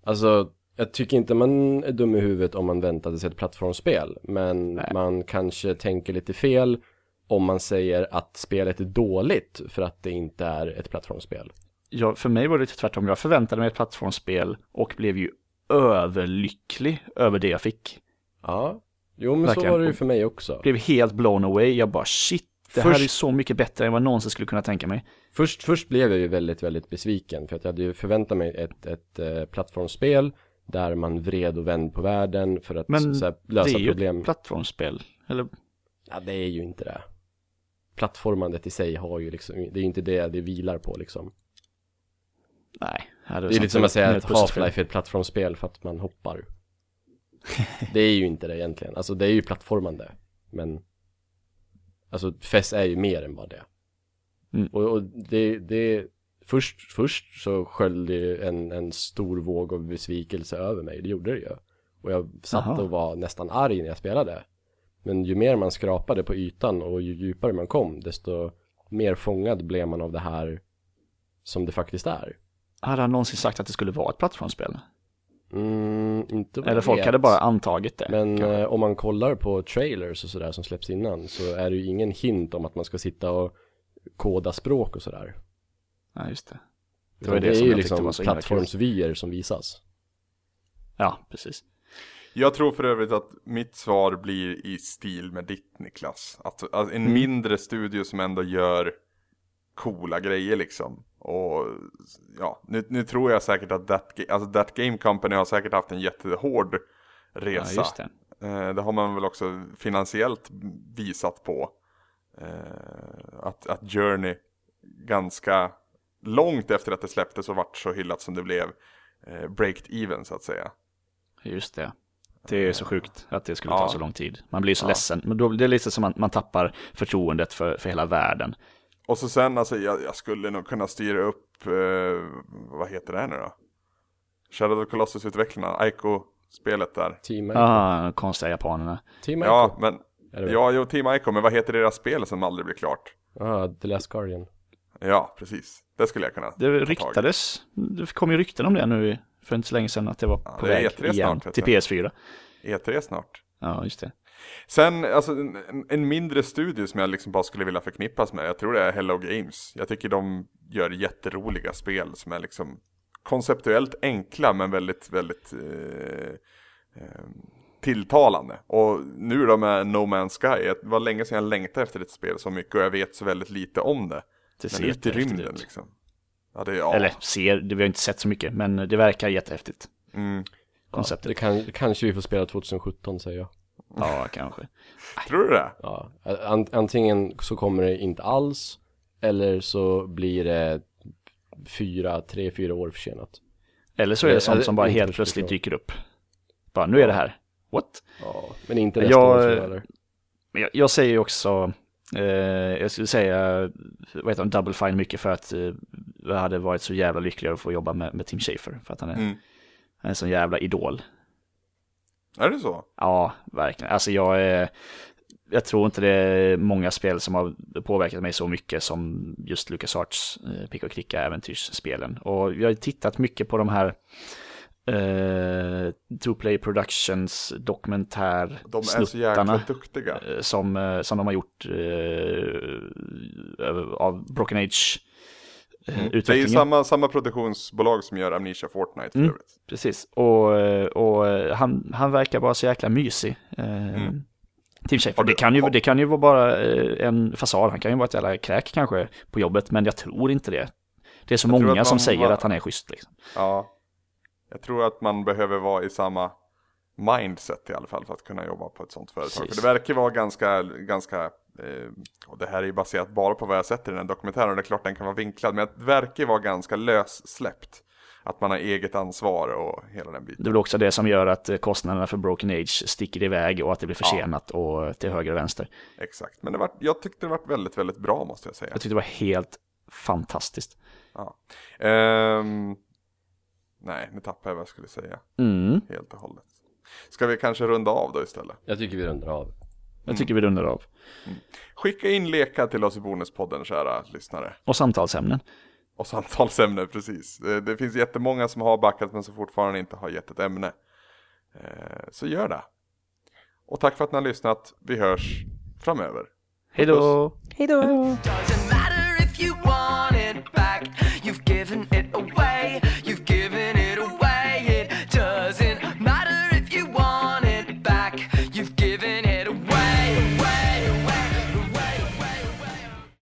[SPEAKER 2] Alltså, jag tycker inte man är dum i huvudet om man väntade sig ett plattformsspel. Men
[SPEAKER 4] Nej.
[SPEAKER 2] man kanske tänker lite fel om man säger att spelet är dåligt för att det inte är ett plattformsspel.
[SPEAKER 4] Jag, för mig var det lite tvärtom. Jag förväntade mig ett plattformsspel och blev ju överlycklig över det jag fick.
[SPEAKER 2] Ja, jo men så
[SPEAKER 4] Verkligen.
[SPEAKER 2] var det ju för mig också.
[SPEAKER 4] Blev helt blown away. Jag bara shit, det här
[SPEAKER 2] Först-
[SPEAKER 4] är så mycket bättre än vad jag någonsin skulle kunna tänka mig.
[SPEAKER 2] Först, först blev jag ju väldigt, väldigt besviken för att jag hade ju förväntat mig ett, ett eh, plattformsspel där man vred och vänd på världen för att
[SPEAKER 4] Men
[SPEAKER 2] så här,
[SPEAKER 4] det
[SPEAKER 2] lösa
[SPEAKER 4] är ju
[SPEAKER 2] problem.
[SPEAKER 4] ett plattformsspel. Eller
[SPEAKER 2] Ja, det är ju inte det. Plattformandet i sig har ju liksom, det är ju inte det det vilar på liksom.
[SPEAKER 4] nej. här
[SPEAKER 2] Det är lite
[SPEAKER 4] sant.
[SPEAKER 2] som att säga
[SPEAKER 4] Mer
[SPEAKER 2] att
[SPEAKER 4] ett pusselspel.
[SPEAKER 2] Half-Life är ett plattformsspel för att man hoppar. Det är ju inte det egentligen, alltså det är ju plattformande. Men, alltså FES är ju mer än bara det.
[SPEAKER 4] Mm.
[SPEAKER 2] Och, och det, det, först, först så sköljde ju en, en stor våg av besvikelse över mig, det gjorde det ju. Och jag satt
[SPEAKER 4] Aha.
[SPEAKER 2] och var nästan arg när jag spelade. Men ju mer man skrapade på ytan och ju djupare man kom, desto mer fångad blev man av det här som det faktiskt är.
[SPEAKER 4] Hade han någonsin sagt att det skulle vara ett plattformsspel?
[SPEAKER 2] Mm, inte vad
[SPEAKER 4] Eller
[SPEAKER 2] jag
[SPEAKER 4] folk
[SPEAKER 2] vet.
[SPEAKER 4] hade bara antagit det.
[SPEAKER 2] Men
[SPEAKER 4] kanske.
[SPEAKER 2] eh, om man kollar på trailers och sådär som släpps innan så är det ju ingen hint om att man ska sitta och koda språk och sådär.
[SPEAKER 4] ja, just det.
[SPEAKER 2] Det,
[SPEAKER 4] Det var
[SPEAKER 2] det,
[SPEAKER 4] det,
[SPEAKER 2] är
[SPEAKER 4] som
[SPEAKER 2] ju
[SPEAKER 4] jag tyckte
[SPEAKER 2] liksom
[SPEAKER 4] var så himla kul.
[SPEAKER 2] plattformsvyer som visas.
[SPEAKER 4] Ja, precis.
[SPEAKER 1] Jag tror för övrigt att mitt svar blir i stil med ditt Niklas. Att, att en
[SPEAKER 4] Mm.
[SPEAKER 1] mindre studio som ändå gör coola grejer liksom. Och ja, nu, nu tror jag säkert att that, Ga- alltså that Game Company har säkert haft en jättehård
[SPEAKER 4] Ja,
[SPEAKER 1] resa.
[SPEAKER 4] just det.
[SPEAKER 1] Eh, Det har man väl också finansiellt visat på. Eh, Att, att Journey ganska långt efter att det släpptes och vart så hyllat som det blev eh, breaked even så att säga.
[SPEAKER 4] Just det. Det är så sjukt att det skulle
[SPEAKER 1] Ja.
[SPEAKER 4] ta så lång tid. Man blir så
[SPEAKER 1] Ja.
[SPEAKER 4] ledsen. Men då, det är lite som man, man tappar förtroendet för, för hela världen.
[SPEAKER 1] Och så sen alltså jag, jag skulle nog kunna styra upp, eh, vad heter det här nu då? Shadow of the Colossus-utvecklarna, Aiko-spelet där.
[SPEAKER 2] Team Ico.
[SPEAKER 4] Ah, konstiga japanerna.
[SPEAKER 2] Team Ico.
[SPEAKER 1] Ja, men,
[SPEAKER 2] Är det väl?
[SPEAKER 1] ja, jo, Team Aiko, men vad heter deras spel som aldrig blir klart?
[SPEAKER 2] Ah, The Last Guardian.
[SPEAKER 1] Ja, precis. Det skulle jag kunna
[SPEAKER 4] Det
[SPEAKER 1] ta tag i.
[SPEAKER 4] ryktades, det kom ju rykten om det nu i- för inte så länge sedan att det var på
[SPEAKER 1] det är
[SPEAKER 4] väg
[SPEAKER 1] E3
[SPEAKER 4] igen
[SPEAKER 1] snart, vet
[SPEAKER 4] till
[SPEAKER 1] du.
[SPEAKER 4] PS4.
[SPEAKER 1] E3 E snart.
[SPEAKER 4] Ja, just det.
[SPEAKER 1] Sen, alltså en, en- en mindre studio som jag liksom bara skulle vilja förknippas med, jag tror det är Hello Games. Jag tycker de gör jätteroliga spel som är liksom konceptuellt enkla men väldigt, väldigt eh, eh, tilltalande. Och nu då med No Man's Sky, det var länge sedan jag längtade efter ett spel så mycket och jag vet så väldigt lite om det.
[SPEAKER 4] Det ser
[SPEAKER 1] Men ute i
[SPEAKER 4] jättehäftigt
[SPEAKER 1] rymden
[SPEAKER 4] ut.
[SPEAKER 1] liksom. Ja, det är, ja.
[SPEAKER 4] Eller ser, det, vi har inte sett så mycket, men det verkar jättehäftigt.
[SPEAKER 1] Mm.
[SPEAKER 4] Konceptet.
[SPEAKER 2] Det kan, kanske vi får spela 2017 säger jag.
[SPEAKER 4] Ja, kanske.
[SPEAKER 1] Tror du det?
[SPEAKER 2] Ja. An, antingen så kommer det inte alls eller så blir det fyra, tre, fyra år försenat.
[SPEAKER 4] Eller så är
[SPEAKER 2] Eller-
[SPEAKER 4] det sånt
[SPEAKER 2] eller
[SPEAKER 4] som bara
[SPEAKER 2] inte
[SPEAKER 4] helt
[SPEAKER 2] riktigt
[SPEAKER 4] plötsligt
[SPEAKER 2] så.
[SPEAKER 4] dyker upp. Bara, nu är det här. What?
[SPEAKER 2] Ja, men inte nästa
[SPEAKER 4] Jag-
[SPEAKER 2] år tror jag heller.
[SPEAKER 4] Men jag, jag säger ju också, eh, jag skulle säga, vad heter de, Double Fine mycket för att eh, jag hade varit så jävla lycklig över att få jobba med, med Tim Schafer. För att han är,
[SPEAKER 1] Mm.
[SPEAKER 4] han är en sån jävla idol.
[SPEAKER 1] Är det så?
[SPEAKER 4] Ja, verkligen. Alltså jag är... Jag tror inte det är många spel som har påverkat mig så mycket som just Lucas Arts eh, Pick och klicka äventyrsspelen. Och jag har tittat mycket på de här eh, Two Play Productions dokumentär
[SPEAKER 1] De är så jäkla duktiga.
[SPEAKER 4] eh, som, eh, som de har gjort eh, över- av Broken eh,
[SPEAKER 1] Mm. Det är ju
[SPEAKER 4] Age-utvecklingen.
[SPEAKER 1] samma, samma produktionsbolag som gör Amnesia Fortnite för
[SPEAKER 4] Mm.
[SPEAKER 1] övrigt.
[SPEAKER 4] Precis, och, eh, och eh, han, han verkar bara så jäkla mysig. Eh,
[SPEAKER 1] Mm.
[SPEAKER 4] Tim Schafer,
[SPEAKER 1] Har du-
[SPEAKER 4] det kan, ju,
[SPEAKER 1] har-
[SPEAKER 4] det kan ju vara bara eh, en fasad, han kan ju vara ett jävla kräk kanske på jobbet, men jag tror inte det. Det är så
[SPEAKER 1] Jag tror
[SPEAKER 4] många
[SPEAKER 1] att
[SPEAKER 4] som
[SPEAKER 1] man
[SPEAKER 4] säger
[SPEAKER 1] har-
[SPEAKER 4] att han är schysst. Liksom.
[SPEAKER 1] Ja. Jag tror att man behöver vara i samma mindset i alla fall för att kunna jobba på ett sånt företag.
[SPEAKER 4] Precis.
[SPEAKER 1] För det verkar vara ganska, ganska, eh, och det här är ju baserat bara på vad jag sett i den här dokumentären och det är klart den kan vara vinklad, men det verkar vara ganska lössläppt. Att man har eget ansvar och hela den biten.
[SPEAKER 4] Det är väl också det som gör att eh, kostnaderna för Broken Age sticker iväg och att det blir försenat och till höger och vänster.
[SPEAKER 1] Exakt, men det var, jag tyckte det var väldigt, väldigt bra måste jag säga.
[SPEAKER 4] Jag tyckte det var helt fantastiskt.
[SPEAKER 1] Ja. Ehm, nej, nu tappade jag vad jag skulle säga
[SPEAKER 4] Mm.
[SPEAKER 1] helt och hållet. Ska vi kanske runda av då istället?
[SPEAKER 2] Jag tycker vi rundar av.
[SPEAKER 1] Mm.
[SPEAKER 4] Jag tycker vi rundar av.
[SPEAKER 1] Skicka in lekar till oss i Bonuspodden, kära lyssnare.
[SPEAKER 4] Och samtalsämnen.
[SPEAKER 1] Och samtalsämne, precis. Eh, Det finns jättemånga som har backat men som fortfarande inte har gett ett ämne. Eh, Så gör det. Och tack för att ni har lyssnat. Vi hörs framöver.
[SPEAKER 4] Hej då!
[SPEAKER 3] Hej då!
[SPEAKER 5] Doesn't matter.